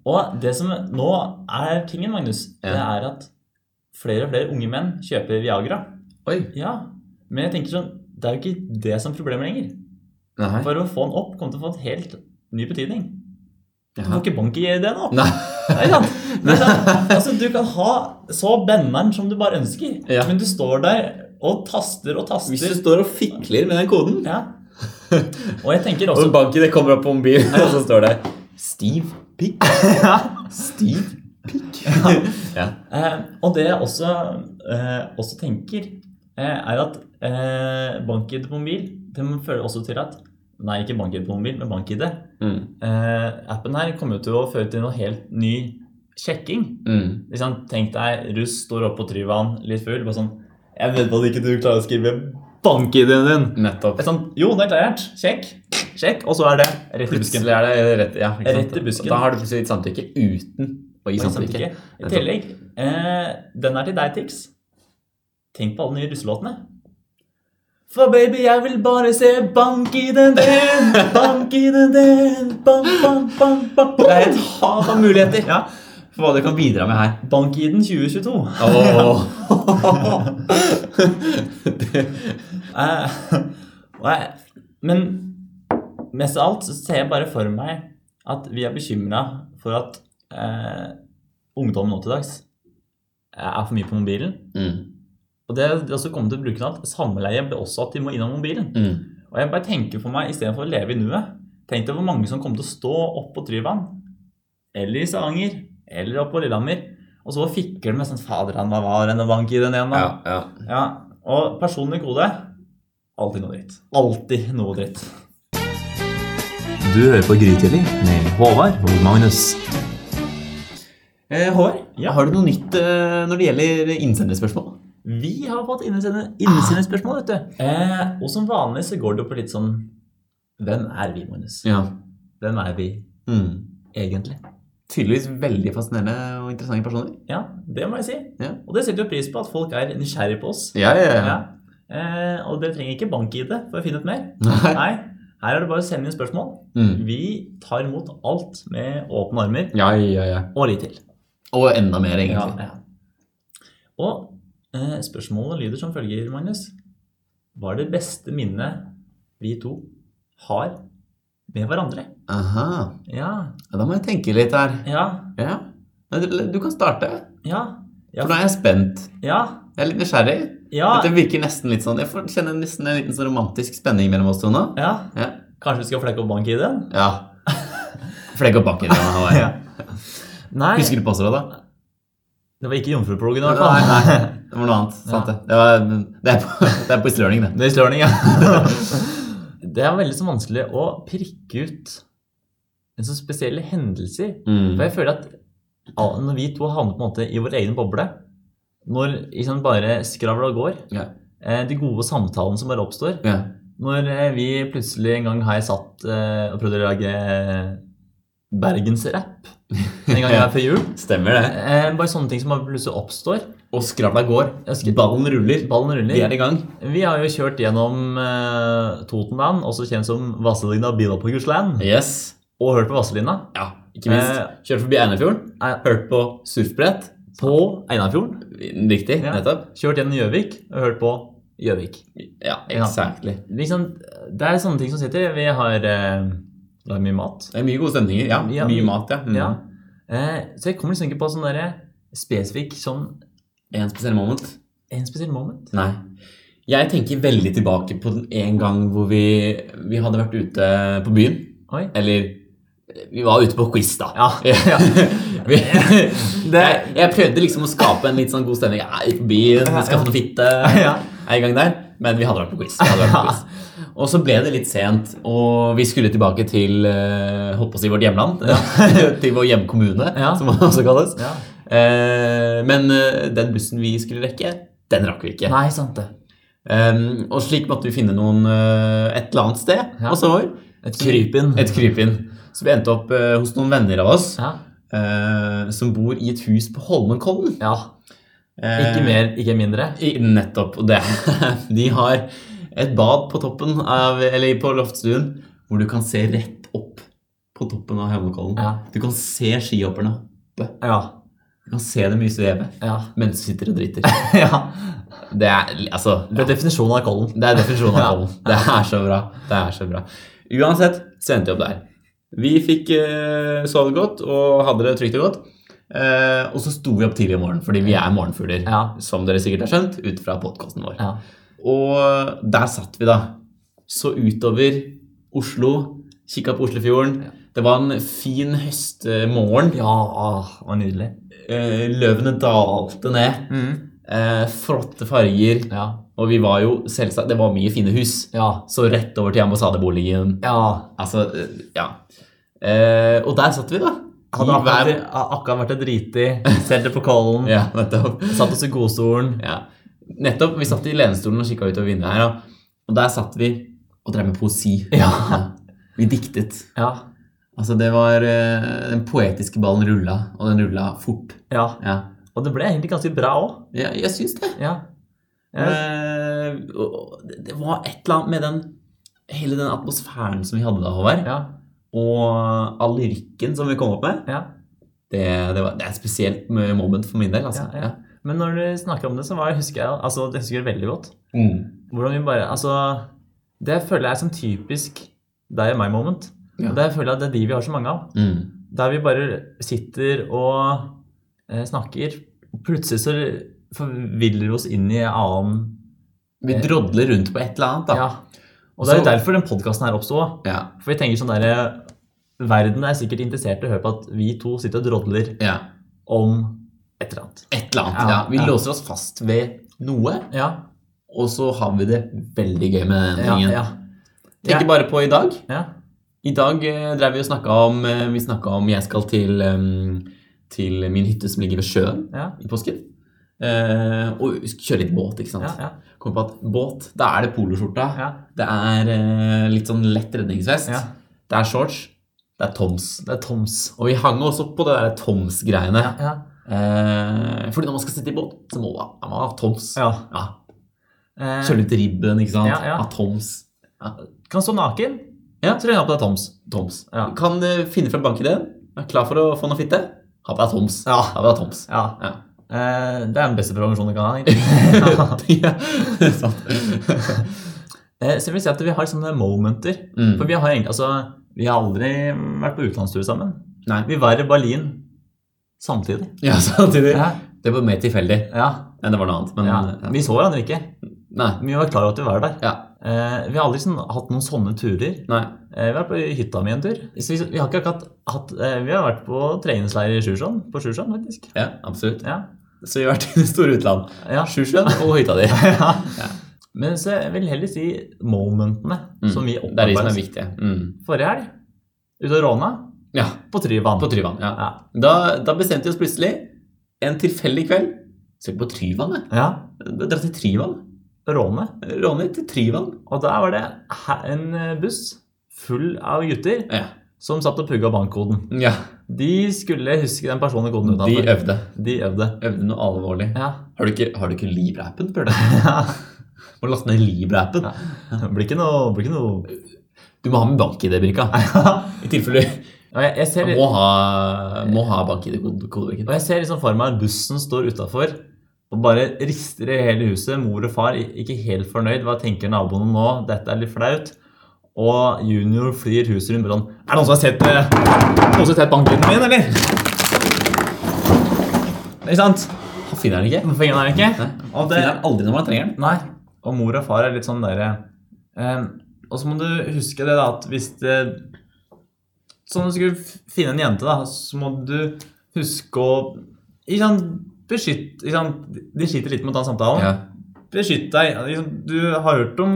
Speaker 2: og det som nå er tingen, Magnus, det
Speaker 1: Ja.
Speaker 2: er at flere og flere unge menn kjøper Viagra.
Speaker 1: Oi.
Speaker 2: Ja, men jeg tenker sånn Det er jo ikke det som er problemet lenger.
Speaker 1: Nei.
Speaker 2: For å få den opp kommer til å få en helt ny betydning. Du
Speaker 1: Ja.
Speaker 2: får ikke bank i det nå.
Speaker 1: Nei.
Speaker 2: Nei, sant? Nei, sant? Altså, du kan ha så benneren som du bare ønsker,
Speaker 1: Ja.
Speaker 2: men du står der og taster og taster.
Speaker 1: Hvis du står og fikler med den koden
Speaker 2: Ja. Og jeg tenker
Speaker 1: Og
Speaker 2: også
Speaker 1: banken det kommer opp på mobilen, og så står det Stiv pikk. Stiv pikk. Ja.
Speaker 2: eh, Og det jeg også, eh, også tenker, eh, er at eh, bank-ID på mobil Det må føre også til at Nei, ikke bank-ID på mobil, men bank-ID.
Speaker 1: Mm.
Speaker 2: Eh, appen her kommer jo til å føre til noe helt ny sjekking.
Speaker 1: Mm.
Speaker 2: Liksom, tenk deg, russ står oppe på Tryvann, litt full, bare sånn Jeg vet at ikke du klarer å skrive bank-ID-en din.
Speaker 1: Nettopp.
Speaker 2: Det er sånn, jo, det er klart. Sjekk. Sjekk. Og så er det rett i busken.
Speaker 1: Plutselig er det rett, ja, ikke sant?
Speaker 2: Rett i busken.
Speaker 1: Da har du plutselig gitt samtykke uten å gi
Speaker 2: Og
Speaker 1: samtykke.
Speaker 2: samtykke. I tillegg, eh, den er til deg, Tix. Tenk på alle nye russelåtene. For baby, jeg vil bare se bank i den din, bank i den din, bank, bank, bank, bank.
Speaker 1: Det er et hav av muligheter
Speaker 2: Ja.
Speaker 1: for hva du kan bidra med her.
Speaker 2: Bank i den 2022. Eh, og jeg, men mest av alt så ser jeg bare for meg at vi er bekymra for at eh, ungdommen nå til dags eh, er for mye på mobilen.
Speaker 1: mm.
Speaker 2: Og det er også kommet til bruken at samleie blir også at de må innom mobilen.
Speaker 1: Mm.
Speaker 2: Og jeg bare tenker for meg, istedenfor å leve i nuet Tenk deg hvor mange som kommer til å stå oppe på Tryvann, eller i Stavanger, eller oppe på Lillehammer, og så fikker de med sånn Fader, han hva var en bank i den ene.
Speaker 1: Ja, ja.
Speaker 2: Ja, og personlig kode Alltid noe dritt. Alltid noe dritt.
Speaker 3: Du hører på Grytidlig med Håvard og Magnus.
Speaker 1: Eh, Håvard,
Speaker 2: Ja.
Speaker 1: har du noe nytt eh, når det gjelder innsenderspørsmål?
Speaker 2: Vi har fått innesende, innesende spørsmål, vet du. Eh, og som vanlig så går det jo på litt sånn Hvem er vi, Magnus?
Speaker 1: Ja.
Speaker 2: Hvem er vi
Speaker 1: Mm.
Speaker 2: egentlig?
Speaker 1: Tydeligvis veldig fascinerende og interessante personer.
Speaker 2: Ja, det må jeg si.
Speaker 1: Ja.
Speaker 2: Og det setter jo pris på at folk er nysgjerrige på oss.
Speaker 1: Ja, ja,
Speaker 2: Ja. Eh, og dere trenger ikke bank-ID for å finne ut mer.
Speaker 1: Nei.
Speaker 2: Nei, her er det bare å sende inn spørsmål.
Speaker 1: Mm.
Speaker 2: Vi tar imot alt med åpne armer.
Speaker 1: Ja, ja, ja.
Speaker 2: Og litt til.
Speaker 1: Og enda mer, egentlig.
Speaker 2: Ja, ja. Og eh, spørsmålet lyder som følger, Magnus. Hva er det beste minnet vi to har med hverandre?
Speaker 1: Aha.
Speaker 2: Ja,
Speaker 1: Ja, da må jeg tenke litt her.
Speaker 2: ja,
Speaker 1: Ja. Men Du du kan starte.
Speaker 2: ja, Ja.
Speaker 1: For nå er jeg spent.
Speaker 2: ja.
Speaker 1: Jeg er litt nysgjerrig.
Speaker 2: ja,
Speaker 1: Dette virker nesten litt sånn Jeg får kjenne nesten en liten sånn romantisk spenning mellom oss to nå.
Speaker 2: ja.
Speaker 1: Ja.
Speaker 2: Kanskje vi skal flekke opp bank-ID-en?
Speaker 1: ja. Flekk opp bakken. denne Hawaii.
Speaker 2: Ja. Nei,
Speaker 1: Husker du passordet, da?
Speaker 2: det var ikke Jomfruplogen i
Speaker 1: Nei,
Speaker 2: hvert fall.
Speaker 1: nei, det var noe annet. Sant det. Det, var, det, er på, det er på Islørning, det.
Speaker 2: Det er slørning, ja. Det er veldig så vanskelig
Speaker 1: Mm.
Speaker 2: å prikke ut en så spesielle hendelser. For jeg føler at al- når vi to havner på en måte i vår egen boble, når liksom bare skravla går,
Speaker 1: Ja.
Speaker 2: eh, de gode samtalene som bare oppstår
Speaker 1: Ja.
Speaker 2: Når eh, vi plutselig en gang her satt eh, og prøvde å lage eh, bergensrapp en gang her før jul
Speaker 1: Stemmer det.
Speaker 2: eh, Bare sånne ting som bare plutselig oppstår.
Speaker 1: Og skravla går.
Speaker 2: Jeg husker-
Speaker 1: Ballen ruller.
Speaker 2: Ballen
Speaker 1: Vi er
Speaker 2: ruller.
Speaker 1: i gang.
Speaker 2: Vi har jo kjørt gjennom eh, Totenland, også kjent som Vasselina Bilopphuggersland,
Speaker 1: Yes.
Speaker 2: og hørt på Vasselina.
Speaker 1: Ja, ikke minst. Kjørte forbi Einarfjorden.
Speaker 2: Eh,
Speaker 1: Hørte på surfbrett.
Speaker 2: På Einarfjorden.
Speaker 1: Riktig.
Speaker 2: Ja.
Speaker 1: Nettopp.
Speaker 2: Kjørt gjennom Gjøvik og hørt på Gjøvik.
Speaker 1: Ja,
Speaker 2: Ja.
Speaker 1: exactly.
Speaker 2: Liksom, det er sånne ting som sitter. Vi har eh, lagd mye mat.
Speaker 1: Det er mye gode stemninger. Ja,
Speaker 2: Ja.
Speaker 1: Mye mat, ja. Mm.
Speaker 2: Ja. Eh, så jeg kommer liksom ikke på sånn derre spesifikk sånn
Speaker 1: En spesiell moment?
Speaker 2: en spesiell moment.
Speaker 1: Nei. Jeg tenker veldig tilbake på den en gang hvor vi, vi hadde vært ute på byen.
Speaker 2: Oi.
Speaker 1: Eller vi var ute på quiz, da.
Speaker 2: Ja.
Speaker 1: vi, jeg, jeg prøvde liksom å skape en litt sånn god stemning. Ja, ute på byen, vi skal få noe fitte.
Speaker 2: Ja.
Speaker 1: Er i gang der. Men vi hadde vært på quiz. Vi hadde vært på quiz. Og så ble det litt sent, og vi skulle tilbake til eh, holdt på å si vårt hjemland. til vår hjemkommune,
Speaker 2: Ja.
Speaker 1: som det også kalles.
Speaker 2: Ja.
Speaker 1: Eh, men eh, den bussen vi skulle rekke, den rakk vi ikke.
Speaker 2: Nei, sant det.
Speaker 1: Ehm, og slik måtte vi finne noen eh, et eller annet sted
Speaker 2: Ja.
Speaker 1: oss over.
Speaker 2: Et krypinn.
Speaker 1: Et krypinn. Så vi endte opp eh, hos noen venner av oss
Speaker 2: Ja.
Speaker 1: eh, som bor i et hus på Holmenkollen.
Speaker 2: ja.
Speaker 1: Eh,
Speaker 2: Ikke mer, ikke mindre.
Speaker 1: i- Nettopp. Og det De har et bad på toppen av, eller på loftstuen hvor du kan se rett opp på toppen av Holmenkollen.
Speaker 2: Ja.
Speaker 1: Du kan se skihopperne.
Speaker 2: Ja.
Speaker 1: Du kan se dem i sveve
Speaker 2: Ja.
Speaker 1: mens du sitter og driter.
Speaker 2: ja.
Speaker 1: Det er altså
Speaker 2: Det er definisjonen av kollen.
Speaker 1: Det er definisjonen av
Speaker 2: Ja.
Speaker 1: pollen. Det er så bra. Det er så bra. Uansett så endte jeg opp der. Vi fikk eh, sovet godt og hadde det trygt og godt. Eh, og så sto vi opp tidlig om morgenen, fordi vi er morgenfugler.
Speaker 2: Ja.
Speaker 1: Som dere sikkert har skjønt ut fra podkasten vår.
Speaker 2: Ja.
Speaker 1: Og der satt vi, da. Så utover Oslo. Kikka på Oslofjorden. Det var en fin høstmorgen.
Speaker 2: Ja, åh, det var nydelig.
Speaker 1: Eh, løvene dalte ned. Eh, flotte farger.
Speaker 2: Mm. Ja.
Speaker 1: Og vi var jo selvsagt Det var mye fine hus.
Speaker 2: Ja.
Speaker 1: Så rett over til ambassadeboligen.
Speaker 2: Ja.
Speaker 1: Altså, eh, ja. Eh, og der satt vi, da.
Speaker 2: Hadde
Speaker 1: I
Speaker 2: akkurat,
Speaker 1: hver-
Speaker 2: hadde akkurat vært et riti. Selte på kollen.
Speaker 1: Ja, nettopp.
Speaker 2: Satt oss i godstolen.
Speaker 1: Ja. Nettopp. Vi satt i lenestolen og kikka ut av vinduet her, og, og der satt vi og drev med poesi.
Speaker 2: Ja.
Speaker 1: Vi diktet.
Speaker 2: Ja.
Speaker 1: Altså, det var eh, Den poetiske ballen rulla, og den rulla fort.
Speaker 2: ja.
Speaker 1: Ja.
Speaker 2: Og det ble egentlig ganske bra òg.
Speaker 1: Ja, jeg syns det.
Speaker 2: Ja. Ja.
Speaker 1: Eh, og- og det det var et eller annet med den Hele den atmosfæren som vi hadde da, Håvard,
Speaker 2: Ja.
Speaker 1: og all lyrikken som vi kom opp med.
Speaker 2: ja.
Speaker 1: Det, det, var, det er et spesielt moment for min del, altså.
Speaker 2: Ja, ja. Men når du snakker om det, så var, husker jeg altså, det husker jeg veldig godt.
Speaker 1: Mm.
Speaker 2: Hvordan vi bare Altså, det føler jeg er sånn typisk deg og meg-moment.
Speaker 1: Ja.
Speaker 2: Og Det føler jeg at det er de vi har så mange av.
Speaker 1: Mm.
Speaker 2: Der vi bare sitter og eh, snakker. Plutselig så forviller vi oss inn i en annen Eh.
Speaker 1: Vi drodler rundt på et eller annet, da.
Speaker 2: Ja. Og det er jo
Speaker 1: Så-
Speaker 2: derfor den podkasten her oppsto.
Speaker 1: Ja.
Speaker 2: For vi tenker sånn derre Verden er sikkert interessert i å høre på at vi to sitter og drodler
Speaker 1: Ja.
Speaker 2: om et eller annet.
Speaker 1: Et eller annet.
Speaker 2: Ja,
Speaker 1: Ja. Vi
Speaker 2: ja.
Speaker 1: låser oss fast ved noe,
Speaker 2: Ja.
Speaker 1: og så har vi det veldig gøy med den
Speaker 2: Ja.
Speaker 1: tingen.
Speaker 2: ja.
Speaker 1: Tenker bare på i dag.
Speaker 2: ja.
Speaker 1: I dag eh, drev vi og snakka om eh, Vi snakka om jeg skal til, eh, til min hytte som ligger ved sjøen
Speaker 2: ja.
Speaker 1: i påsken. Eh, og kjøre litt båt, ikke sant.
Speaker 2: Ja, ja,
Speaker 1: Kom på at båt, da er det poloskjorta.
Speaker 2: ja.
Speaker 1: Det er eh, litt sånn lett redningsvest.
Speaker 2: Ja.
Speaker 1: Det er shorts. Det er Toms.
Speaker 2: Det er Toms.
Speaker 1: Og vi hang oss opp på det der Toms-greiene.
Speaker 2: Ja.
Speaker 1: Eh, fordi når man skal sitte i båt, så må man man må ha Toms.
Speaker 2: ja.
Speaker 1: Ja.
Speaker 2: Eh,
Speaker 1: Kjøre litt ribben, ikke sant.
Speaker 2: Ja, ja.
Speaker 1: Ha Toms.
Speaker 2: kan stå naken. Ja, så lenge han på deg Toms.
Speaker 1: Toms.
Speaker 2: Ja.
Speaker 1: Kan eh, finne frem bankideen. Er klar for å få noe fitte. Ha på deg Toms.
Speaker 2: Ja.
Speaker 1: Ha på deg Toms.
Speaker 2: Ja.
Speaker 1: Ja.
Speaker 2: Eh, det er den beste prevensjonen du kan ha. egentlig.
Speaker 1: ja. det er sant.
Speaker 2: eh, så jeg vil si at vi har sånne momenter.
Speaker 1: Mm.
Speaker 2: For vi har egentlig, altså, vi har aldri vært på utenlandstur sammen.
Speaker 1: Nei.
Speaker 2: Vi var i Berlin samtidig.
Speaker 1: Ja, samtidig.
Speaker 2: Ja.
Speaker 1: Det var mer tilfeldig
Speaker 2: ja.
Speaker 1: enn det var noe annet. Men ja.
Speaker 2: Vi så hverandre ikke.
Speaker 1: Nei.
Speaker 2: men Vi var klar over at vi var der.
Speaker 1: Ja.
Speaker 2: Eh, vi har aldri sånn, hatt noen sånne turer.
Speaker 1: Nei.
Speaker 2: Eh, Vi har vært på hytta mi en tur. Så vi, vi har ikke akkurat hatt eh, Vi har vært på treningsleir i Sjusjøen, på Sjusjøen faktisk.
Speaker 1: Ja, absolutt.
Speaker 2: Ja.
Speaker 1: Så vi har vært i det store utland.
Speaker 2: ja.
Speaker 1: Sjusjøen og hytta di.
Speaker 2: ja. Men så jeg vil heller si momentene
Speaker 1: Mm.
Speaker 2: som vi
Speaker 1: Det er de som er
Speaker 2: opparbeider oss.
Speaker 1: viktige. Mm.
Speaker 2: Forrige helg, ute og råna,
Speaker 1: Ja,
Speaker 2: På Tryvann.
Speaker 1: på Tryvann. Ja.
Speaker 2: Ja.
Speaker 1: Da, da bestemte vi oss plutselig, en tilfeldig kveld Skal vi på Tryvann, jeg?
Speaker 2: ja.
Speaker 1: Dra til Tryvann?
Speaker 2: Råne.
Speaker 1: Råne til Tryvann?
Speaker 2: Og der var det he- en eh, buss full av gutter
Speaker 1: Ja.
Speaker 2: som satt og pugga bankkoden.
Speaker 1: ja.
Speaker 2: De skulle huske den personlige koden
Speaker 1: De
Speaker 2: utenfor.
Speaker 1: øvde.
Speaker 2: De øvde.
Speaker 1: Øvde noe alvorlig.
Speaker 2: Ja.
Speaker 1: Har du ikke, har du ikke Libra-appen, spør du? Må laste ned Libra-appen.
Speaker 2: Det blir ikke noe, blir ikke noe.
Speaker 1: Du må ha med bank-ID, Brika. I tilfelle
Speaker 2: Og jeg, jeg
Speaker 1: du
Speaker 2: ser,
Speaker 1: må ha, må ha bank-ID-kodebrikken.
Speaker 2: og jeg ser liksom for meg at bussen står utafor og bare rister i hele huset. Mor og far i- ikke helt fornøyd. Hva tenker naboene nå? Dette er litt flaut. Og junior flyr huset rundt bare sånn Er det noen som har sett, eh, noen som har sett banklyden min, eller? Ikke sant?
Speaker 1: Han finner den ikke.
Speaker 2: Hvorfor finner han ikke?
Speaker 1: Nei.
Speaker 2: Og det,
Speaker 1: Finner den aldri når man trenger den.
Speaker 2: Nei. Og mor og far er litt sånn derre eh, Og så må du huske det, da, at hvis det Sånn du skulle f- finne en jente, da, så må du huske å ikke sant, beskytte ikke sant, De sliter litt med å ta samtalen. Beskytt deg. Liksom, du har hørt om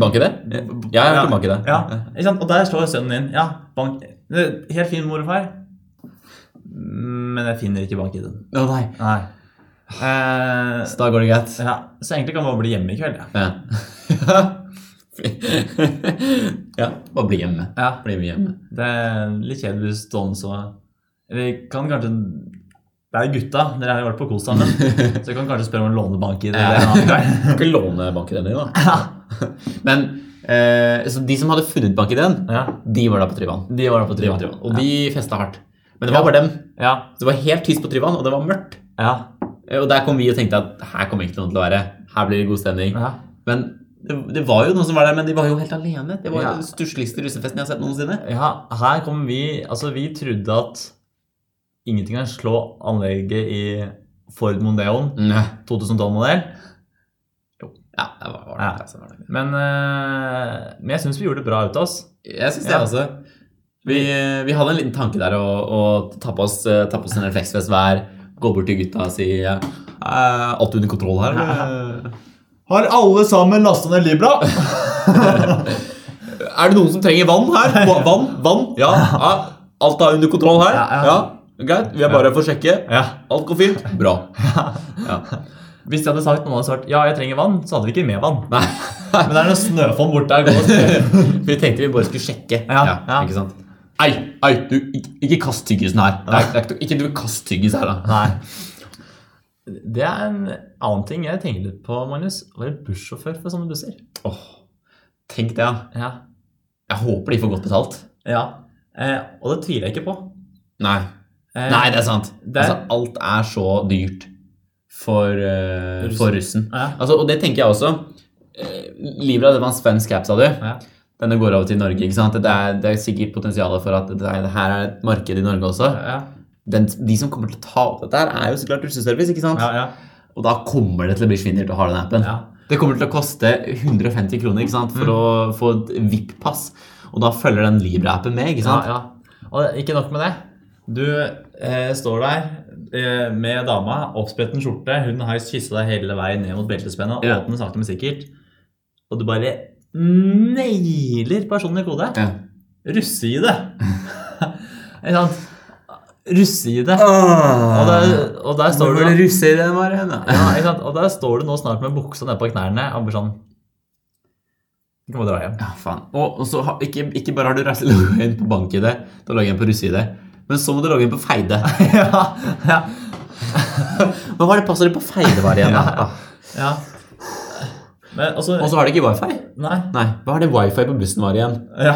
Speaker 1: Bank-ID? Mm. Ja, jeg har hørt om bank-ID.
Speaker 2: Ja, ikke sant? Og der står sønnen din. Ja, bank. Helt fin mor og far. Men jeg finner ikke bank-ID-en.
Speaker 1: Å nei.
Speaker 2: Nei. Eh,
Speaker 1: Så da går det greit.
Speaker 2: ja, så egentlig kan man bare bli hjemme i kveld. Ja.
Speaker 1: Ja. ja, bare bli hjemme.
Speaker 2: Ja.
Speaker 1: Bli med hjemme.
Speaker 2: Det er litt kjedelig hvis Don så Eller kan kanskje Det er gutta, dere har jo vært på kos sammen. Så vi kan kanskje spørre om en lånebank i det. eller en annen gang.
Speaker 1: Kan ikke låne bank-ID-en din, da. Men eh, så de som hadde funnet bank-ID-en,
Speaker 2: Ja,
Speaker 1: de var da på Tryvann.
Speaker 2: de var da
Speaker 1: De var
Speaker 2: på
Speaker 1: på
Speaker 2: Tryvann.
Speaker 1: Tryvann. Og de festa hardt. Men det var bare dem.
Speaker 2: Ja,
Speaker 1: Det var helt tyst på Tryvann, og det var mørkt.
Speaker 2: ja,
Speaker 1: Eh, Og der kom vi og tenkte at her kommer ikke noe til å være. Her blir det god stemning.
Speaker 2: ja.
Speaker 1: Men det, det var jo noen som var der, men de var jo helt alene. Det var jo
Speaker 2: Ja.
Speaker 1: den stussligste russefesten jeg har sett noensinne.
Speaker 2: ja her kommer vi Altså, vi trodde at ingenting kan slå anlegget i Ford Mondeon
Speaker 1: Ja,
Speaker 2: 2012-modell.
Speaker 1: ja det var, var det,
Speaker 2: Ja.
Speaker 1: altså, var det.
Speaker 2: Men, eh, men jeg syns vi gjorde det bra ut av oss.
Speaker 1: Jeg syns det,
Speaker 2: Ja.
Speaker 1: altså. Vi, vi hadde en liten tanke der å, å ta på oss, eh, ta på oss en refleksvest hver, gå bort til gutta og si eh, «Er Alt under kontroll her, eller?
Speaker 2: Eh, Har alle sammen lasta ned Libra?
Speaker 1: Er det noen som trenger vann her? Va- Vann? Vann? Ja. ja. Alt er under kontroll her?
Speaker 2: Ja, ja.
Speaker 1: Ja. Greit. Vi er bare her for å sjekke.
Speaker 2: Ja.
Speaker 1: Alt går fint. Bra. Ja.
Speaker 2: Hvis de hadde sagt noen hadde svart ja, jeg trenger vann, så hadde vi ikke mer vann.
Speaker 1: Nei.
Speaker 2: Men det er noe snøfonn bort der. gå og se.
Speaker 1: Vi tenkte vi bare skulle sjekke.
Speaker 2: Ja, ja.
Speaker 1: Ikke sant? Ei, ei, du, ikke, ikke kast tyggisen her. Det er, det er, ikke- ikke du kast tyggis her, da.
Speaker 2: Nei. Det er en annen ting jeg tenker litt på, Magnus. Å være bussjåfør for sånne busser.
Speaker 1: Åh, tenk det, ja.
Speaker 2: Ja.
Speaker 1: Jeg håper de får godt betalt.
Speaker 2: ja. Eh, og det tviler jeg ikke på.
Speaker 1: Nei,
Speaker 2: Eh,
Speaker 1: Nei det er sant.
Speaker 2: det-
Speaker 1: Altså, alt er så dyrt for, eh,
Speaker 2: Russen.
Speaker 1: for russen.
Speaker 2: Ja.
Speaker 1: Altså, og det tenker jeg også. Eh, Libra, det var en svensk app, sa du.
Speaker 2: Ja.
Speaker 1: Denne går over til Norge. ikke sant? Det er, det er sikkert potensial for at det, er, det her er et marked i Norge også.
Speaker 2: Ja,
Speaker 1: Den, de som kommer til å ta opp dette, her er jo så klart russeservice. ikke sant?
Speaker 2: ja, ja.
Speaker 1: Og da kommer det til å bli svindelt å ha den appen.
Speaker 2: Ja. Mm.
Speaker 1: Det kommer til å koste 150 kroner ikke sant? for å få et VIP-pass. Og da følger den Libra-appen med. ikke
Speaker 2: ja,
Speaker 1: sant?
Speaker 2: ja. Og ikke nok med det. Du eh, står der eh, med dama, oppspretten skjorte. Hun har kyssa deg hele veien ned mot beltespennet,
Speaker 1: Ja.
Speaker 2: åpner sakte, men sikkert. Og du bare nailer personlig kode.
Speaker 1: Ja.
Speaker 2: Russe-ID! Ikke sant? Russe-ID. Og der, og der står
Speaker 1: Hvor
Speaker 2: du Ah. nå-
Speaker 1: var det russer i den var igjen, da?
Speaker 2: ja, ikke sant? Og der står du nå snart med buksa ned på knærne og blir sånn Du kan bare dra hjem.
Speaker 1: Ja, faen. Og, og så har, ikke, ikke bare har du reist logget inn på bank-ID, du har logget inn på russe-ID, men så må du logge inn på Feide.
Speaker 2: ja, ja,
Speaker 1: Hva var det passer det på Feide var igjen, da?
Speaker 2: ja. Men også
Speaker 1: Og så har de ikke wifi.
Speaker 2: Nei.
Speaker 1: Nei, hva har det wifi på bussen var igjen?
Speaker 2: Ja.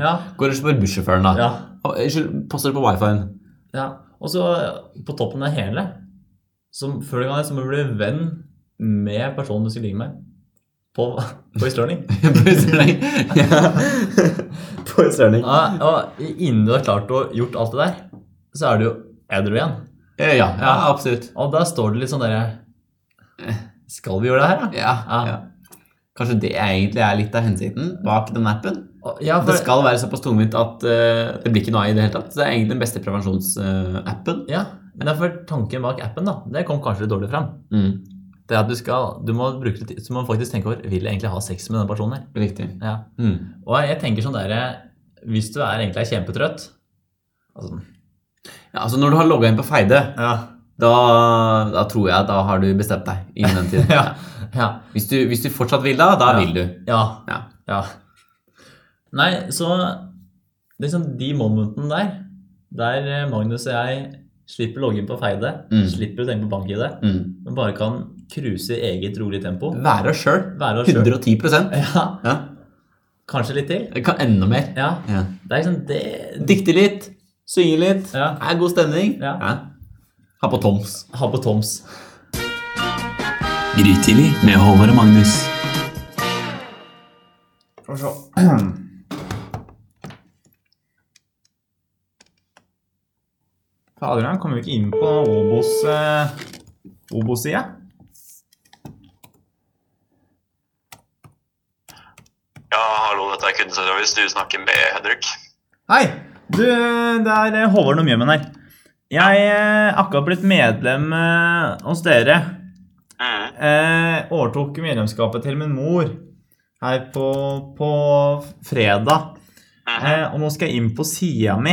Speaker 2: Ja.
Speaker 1: Går det ikke på bussjåføren, da?
Speaker 2: ja,
Speaker 1: Å, Unnskyld, passer det på wifien?
Speaker 2: ja. Og så eh, på toppen av hele som, Før du kan det, så må du bli venn med personen du skal ligge med. På, på East
Speaker 1: Plutselig. ja. På Sørling.
Speaker 2: Ja, og innen du har klart å gjort alt det der, så er du jo edru igjen.
Speaker 1: Ja, ja, ja, absolutt.
Speaker 2: Og da står det litt sånn derre Skal vi gjøre det her, da?
Speaker 1: Ja,
Speaker 2: Ja.
Speaker 1: ja. Kanskje det egentlig er litt av hensikten bak den appen?
Speaker 2: Og- Ja,
Speaker 1: At
Speaker 2: for,
Speaker 1: det skal være såpass tungvint at eh, det blir ikke noe av i det hele tatt. Så det er egentlig den beste prevensjonsappen.
Speaker 2: ja, men derfor tanken bak appen, da. Det kom kanskje litt dårlig fram.
Speaker 1: Mm,
Speaker 2: Det er at du skal Du må bruke litt tid, så må du faktisk tenke over Vil jeg egentlig ha sex med denne personen her?
Speaker 1: riktig.
Speaker 2: Ja.
Speaker 1: Mm.
Speaker 2: Og jeg tenker sånn derre Hvis du er egentlig er kjempetrøtt,
Speaker 4: Altså,
Speaker 1: Ja, altså Når du har logga inn på Feide,
Speaker 4: ja.
Speaker 1: da, da tror jeg at da har du bestemt deg innen den tiden.
Speaker 4: Ja. ja.
Speaker 1: Hvis, du, hvis du fortsatt vil da, da
Speaker 4: Ja.
Speaker 1: vil du.
Speaker 4: Ja.
Speaker 1: Ja.
Speaker 4: ja. Nei, så liksom de momentene der, der eh, Magnus og jeg slipper logge inn på Feide,
Speaker 1: Mm.
Speaker 4: slipper å tenke på bank-ID,
Speaker 1: Mm.
Speaker 4: men bare kan cruise i eget rolig tempo.
Speaker 1: Være oss sjøl.
Speaker 4: Være oss sjøl.
Speaker 1: 110
Speaker 4: Ja,
Speaker 1: ja.
Speaker 4: kanskje litt til.
Speaker 1: Kan enda mer.
Speaker 4: Ja,
Speaker 1: Ja.
Speaker 4: det er liksom det
Speaker 1: Dikte litt, synge litt.
Speaker 4: Ja.
Speaker 1: Er god stemning.
Speaker 4: Ja.
Speaker 1: Ha på Toms.
Speaker 4: Ha på Toms.
Speaker 5: Grytidlig med Håvard og Magnus.
Speaker 4: Skal vi se.
Speaker 2: Fader, han kommer jo ikke inn på Obos, eh, Obos-sida.
Speaker 6: Ja, hallo, dette er kundeservice. Du snakker med Henrik.
Speaker 2: Hei! Du, det er eh, Håvard Nomhjemmen her. Jeg er akkurat blitt medlem eh, hos dere.
Speaker 6: Mm.
Speaker 2: Eh, overtok medlemskapet til min mor her på, på fredag.
Speaker 6: Mhm.
Speaker 2: Eh, og nå skal jeg inn på sida mi.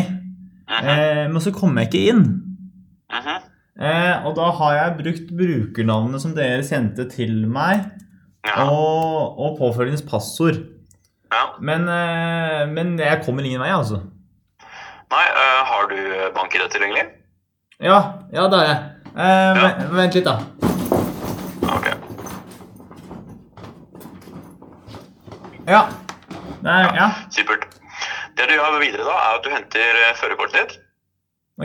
Speaker 6: Mhm.
Speaker 2: Eh, men så kommer jeg ikke inn.
Speaker 6: Mhm.
Speaker 2: Eh, og da har jeg brukt brukernavnet som dere sendte til meg,
Speaker 6: Ja.
Speaker 2: og, og påfølgende passord.
Speaker 6: ja.
Speaker 2: Men, eh, men jeg kommer ingen vei, altså.
Speaker 6: Nei, eh, har du bank-ID tilgjengelig?
Speaker 2: Ja, ja, det har jeg. Eh, ve- Vent litt, da.
Speaker 6: Ok.
Speaker 2: Ja. Det er, ja.
Speaker 6: Supert. Det du gjør videre, da, er at du henter eh, førerkortet ditt.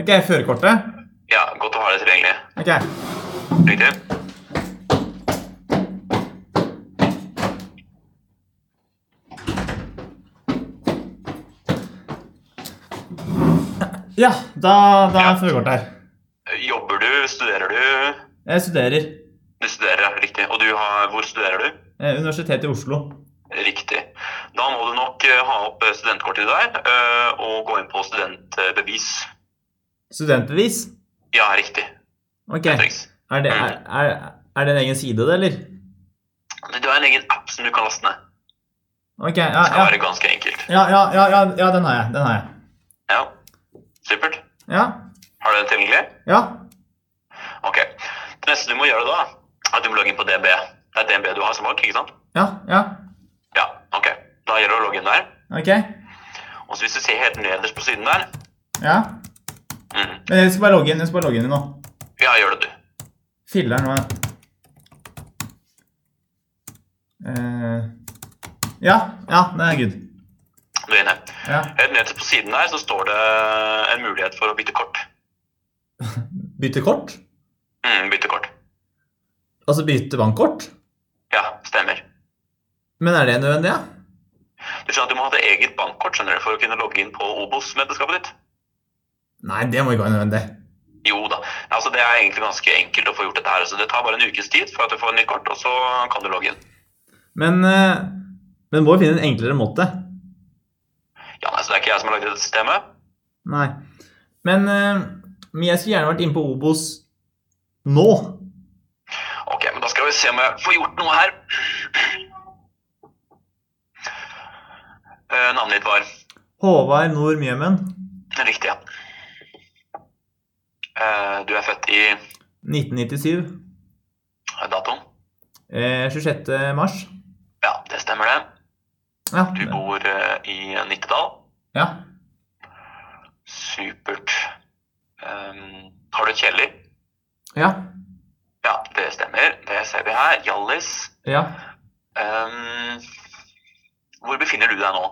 Speaker 2: Ok, førerkortet.
Speaker 6: Ja, godt å ha det tilgjengelig.
Speaker 2: Ok.
Speaker 6: Riktig.
Speaker 2: Ja, da, da
Speaker 6: Ja.
Speaker 2: er førerkortet her.
Speaker 6: Jobber du? Studerer du?
Speaker 2: Jeg studerer.
Speaker 6: Du studerer, ja. Riktig. Og du har Hvor studerer du?
Speaker 2: Eh, Universitetet i Oslo.
Speaker 6: Riktig. Da må du nok eh, ha opp eh, studentkortet ditt der, eh, og gå inn på studentbevis.
Speaker 2: Studentbevis.
Speaker 6: Ja, riktig.
Speaker 2: Ok.
Speaker 6: Det
Speaker 2: Er
Speaker 6: trengs.
Speaker 2: det, er, er, er det en egen side, det, eller?
Speaker 6: Du har en egen app som du kan laste ned.
Speaker 2: Ok, ja,
Speaker 6: Det skal
Speaker 2: ja.
Speaker 6: være ganske enkelt.
Speaker 2: Ja, ja, ja, ja, ja, den har jeg. Den har jeg.
Speaker 6: Ja. Supert.
Speaker 2: Ja.
Speaker 6: Har du den tilgjengelig?
Speaker 2: Ja.
Speaker 6: Ok. Det neste du må gjøre da, er at du må logge inn på DNB. Det er DNB du har som bank, ikke sant?
Speaker 2: Ja. ja.
Speaker 6: Ja, ok. Da gjelder det å logge inn der.
Speaker 2: Ok.
Speaker 6: Og så hvis du ser helt nederst på siden der,
Speaker 2: Ja.
Speaker 6: mm,
Speaker 2: Men jeg skal bare logge inn jeg skal bare logge inn nå.
Speaker 6: ja, gjør det du.
Speaker 2: Filler'n, hva eh, Ja. Ja, det er good.
Speaker 6: Du er inne.
Speaker 2: Ja.
Speaker 6: Helt nederst på siden der så står det en mulighet for å bytte kort.
Speaker 2: Bytte kort?
Speaker 6: Mm, bytte kort.
Speaker 2: Altså bytte bankkort?
Speaker 6: Ja, stemmer.
Speaker 2: Men er det nødvendig, ja?
Speaker 6: Du skjønner at du må ha det eget bankkort, skjønner du, for å kunne logge inn på Obos-medlemskapet ditt.
Speaker 2: Nei, det må ikke være nødvendig.
Speaker 6: Jo da. Altså, det er egentlig ganske enkelt å få gjort dette her. Så det tar bare en ukes tid for at du får en ny kort, og så kan du logge inn.
Speaker 2: Men, eh, men må jo finne en enklere måte.
Speaker 6: Ja, altså, det er ikke jeg som har lagd dette systemet.
Speaker 2: Nei. Men, eh, men jeg skulle gjerne vært inne på Obos nå.
Speaker 6: Ok, men da skal vi se om jeg får gjort noe her. Eh, navnet ditt var
Speaker 2: Håvard Nord Mjømen.
Speaker 6: riktig, ja. Eh, du er født i
Speaker 2: 1997.
Speaker 6: datoen?
Speaker 2: Eh, 26. mars.
Speaker 6: Ja, det stemmer det.
Speaker 2: Ja.
Speaker 6: Du bor eh, i Nittedal.
Speaker 2: ja.
Speaker 6: Supert. Ehm, har du kjeller?
Speaker 2: Ja.
Speaker 6: Ja, det stemmer. Det ser vi her. Hjallis.
Speaker 2: Ja.
Speaker 6: Ehm, hvor befinner du deg nå?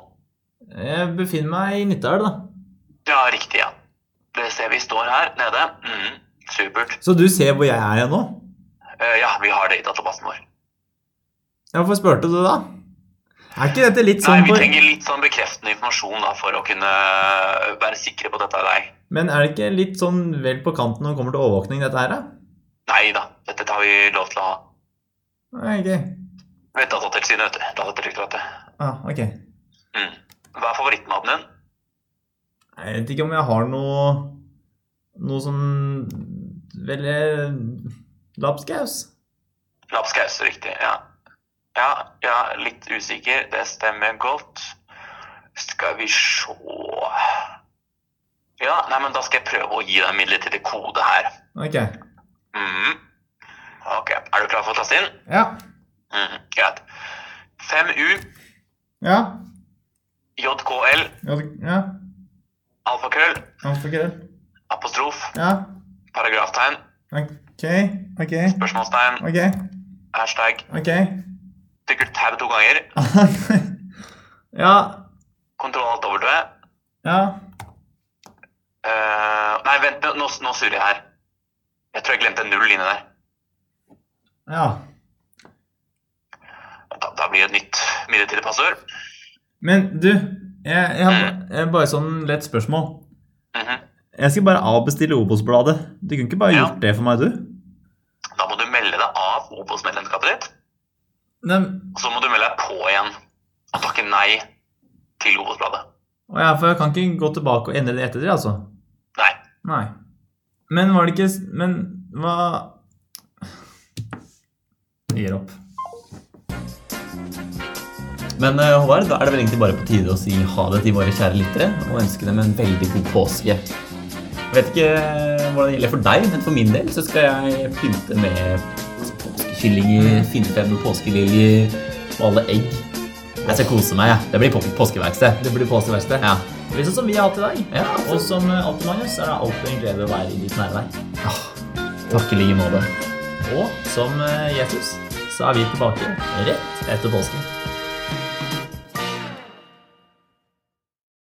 Speaker 2: Jeg befinner meg i Nittedal, da.
Speaker 6: Ja, riktig, ja. Det ser vi står her nede. Mhm, supert.
Speaker 2: Så du ser hvor jeg er igjen nå?
Speaker 6: Eh, ja, vi har det i databasen vår.
Speaker 2: Ja, Hvorfor spurte du da? Er ikke dette litt
Speaker 6: Nei,
Speaker 2: sånn
Speaker 6: vi
Speaker 2: for-
Speaker 6: trenger litt sånn bekreftende informasjon da, for å kunne eh, være sikre på at dette er deg.
Speaker 2: Men er det ikke litt sånn vel på kanten når det kommer til overvåkning, dette her, da?
Speaker 6: Nei da, dette tar vi lov til å ha.
Speaker 2: Nei, ok.
Speaker 6: Ved Datatilsynet, vet du. Datadirektoratet.
Speaker 2: Ah, ok.
Speaker 6: Mm. Hva er favorittmaten din?
Speaker 2: Jeg vet ikke om jeg har noe Noe sånn Veldig Lapskaus.
Speaker 6: Lapskaus, riktig. Ja. ja, ja, litt usikker. Det stemmer godt. Skal vi sjå Ja, nei, men da skal jeg prøve å gi deg en midlertidig kode her.
Speaker 7: Ok.
Speaker 6: Mhm. Ok, er du klar for å taste inn?
Speaker 7: Ja.
Speaker 6: Mhm, greit. 5U,
Speaker 7: Ja.
Speaker 6: JKL,
Speaker 7: Ja. ja.
Speaker 6: alfakrøll,
Speaker 7: Alfakrøll.
Speaker 6: apostrof,
Speaker 7: Ja.
Speaker 6: paragraftegn,
Speaker 7: Ok. Ok.
Speaker 6: spørsmålstegn,
Speaker 7: Ok.
Speaker 6: hashtag,
Speaker 7: Ok.
Speaker 6: trykker tab to ganger,
Speaker 7: ja.
Speaker 6: kontroll alt W.
Speaker 7: Ja.
Speaker 6: Eh, nei, vent, nå, nå- nå surrer jeg her. Jeg tror jeg glemte en null inni der.
Speaker 7: Ja.
Speaker 6: Da, da blir det et nytt midlertidig passord.
Speaker 2: Men du, jeg, jeg har jeg har bare sånn lett spørsmål.
Speaker 6: Mhm.
Speaker 2: Jeg skal bare avbestille Obos-bladet. Du kunne ikke bare
Speaker 6: Ja.
Speaker 2: gjort det for meg, du?
Speaker 6: Da må du melde deg av Obos-medlemskapet ditt,
Speaker 2: Nei,
Speaker 6: og så må du melde deg på igjen og takke nei til Obos-bladet.
Speaker 2: å ja, for jeg kan ikke gå tilbake og endre det etter det, altså.
Speaker 6: Nei.
Speaker 2: Nei. Men var det ikke s- Men hva Jeg gir opp.
Speaker 1: Men eh, Håvard, da er det vel egentlig bare på tide å si ha det til våre kjære lyttere og ønske dem en veldig god påske. Jeg vet ikke eh, hvordan det gjelder for deg, men for min del så skal jeg pynte med påskekyllinger, finne frem med påskeliljer og alle egg. Jeg skal kose meg. jeg. Det blir på- påskeverksted.
Speaker 8: Det blir påskeverksted.
Speaker 1: Ja.
Speaker 8: Litt sånn som vi har hatt i dag.
Speaker 1: Ja, altså.
Speaker 8: Og som eh, alltid, Magnus, er det alltid en glede å være i ditt nærvær.
Speaker 1: Takk i like måte.
Speaker 8: Og som eh, Jesus, så er vi tilbake rett etter påsken.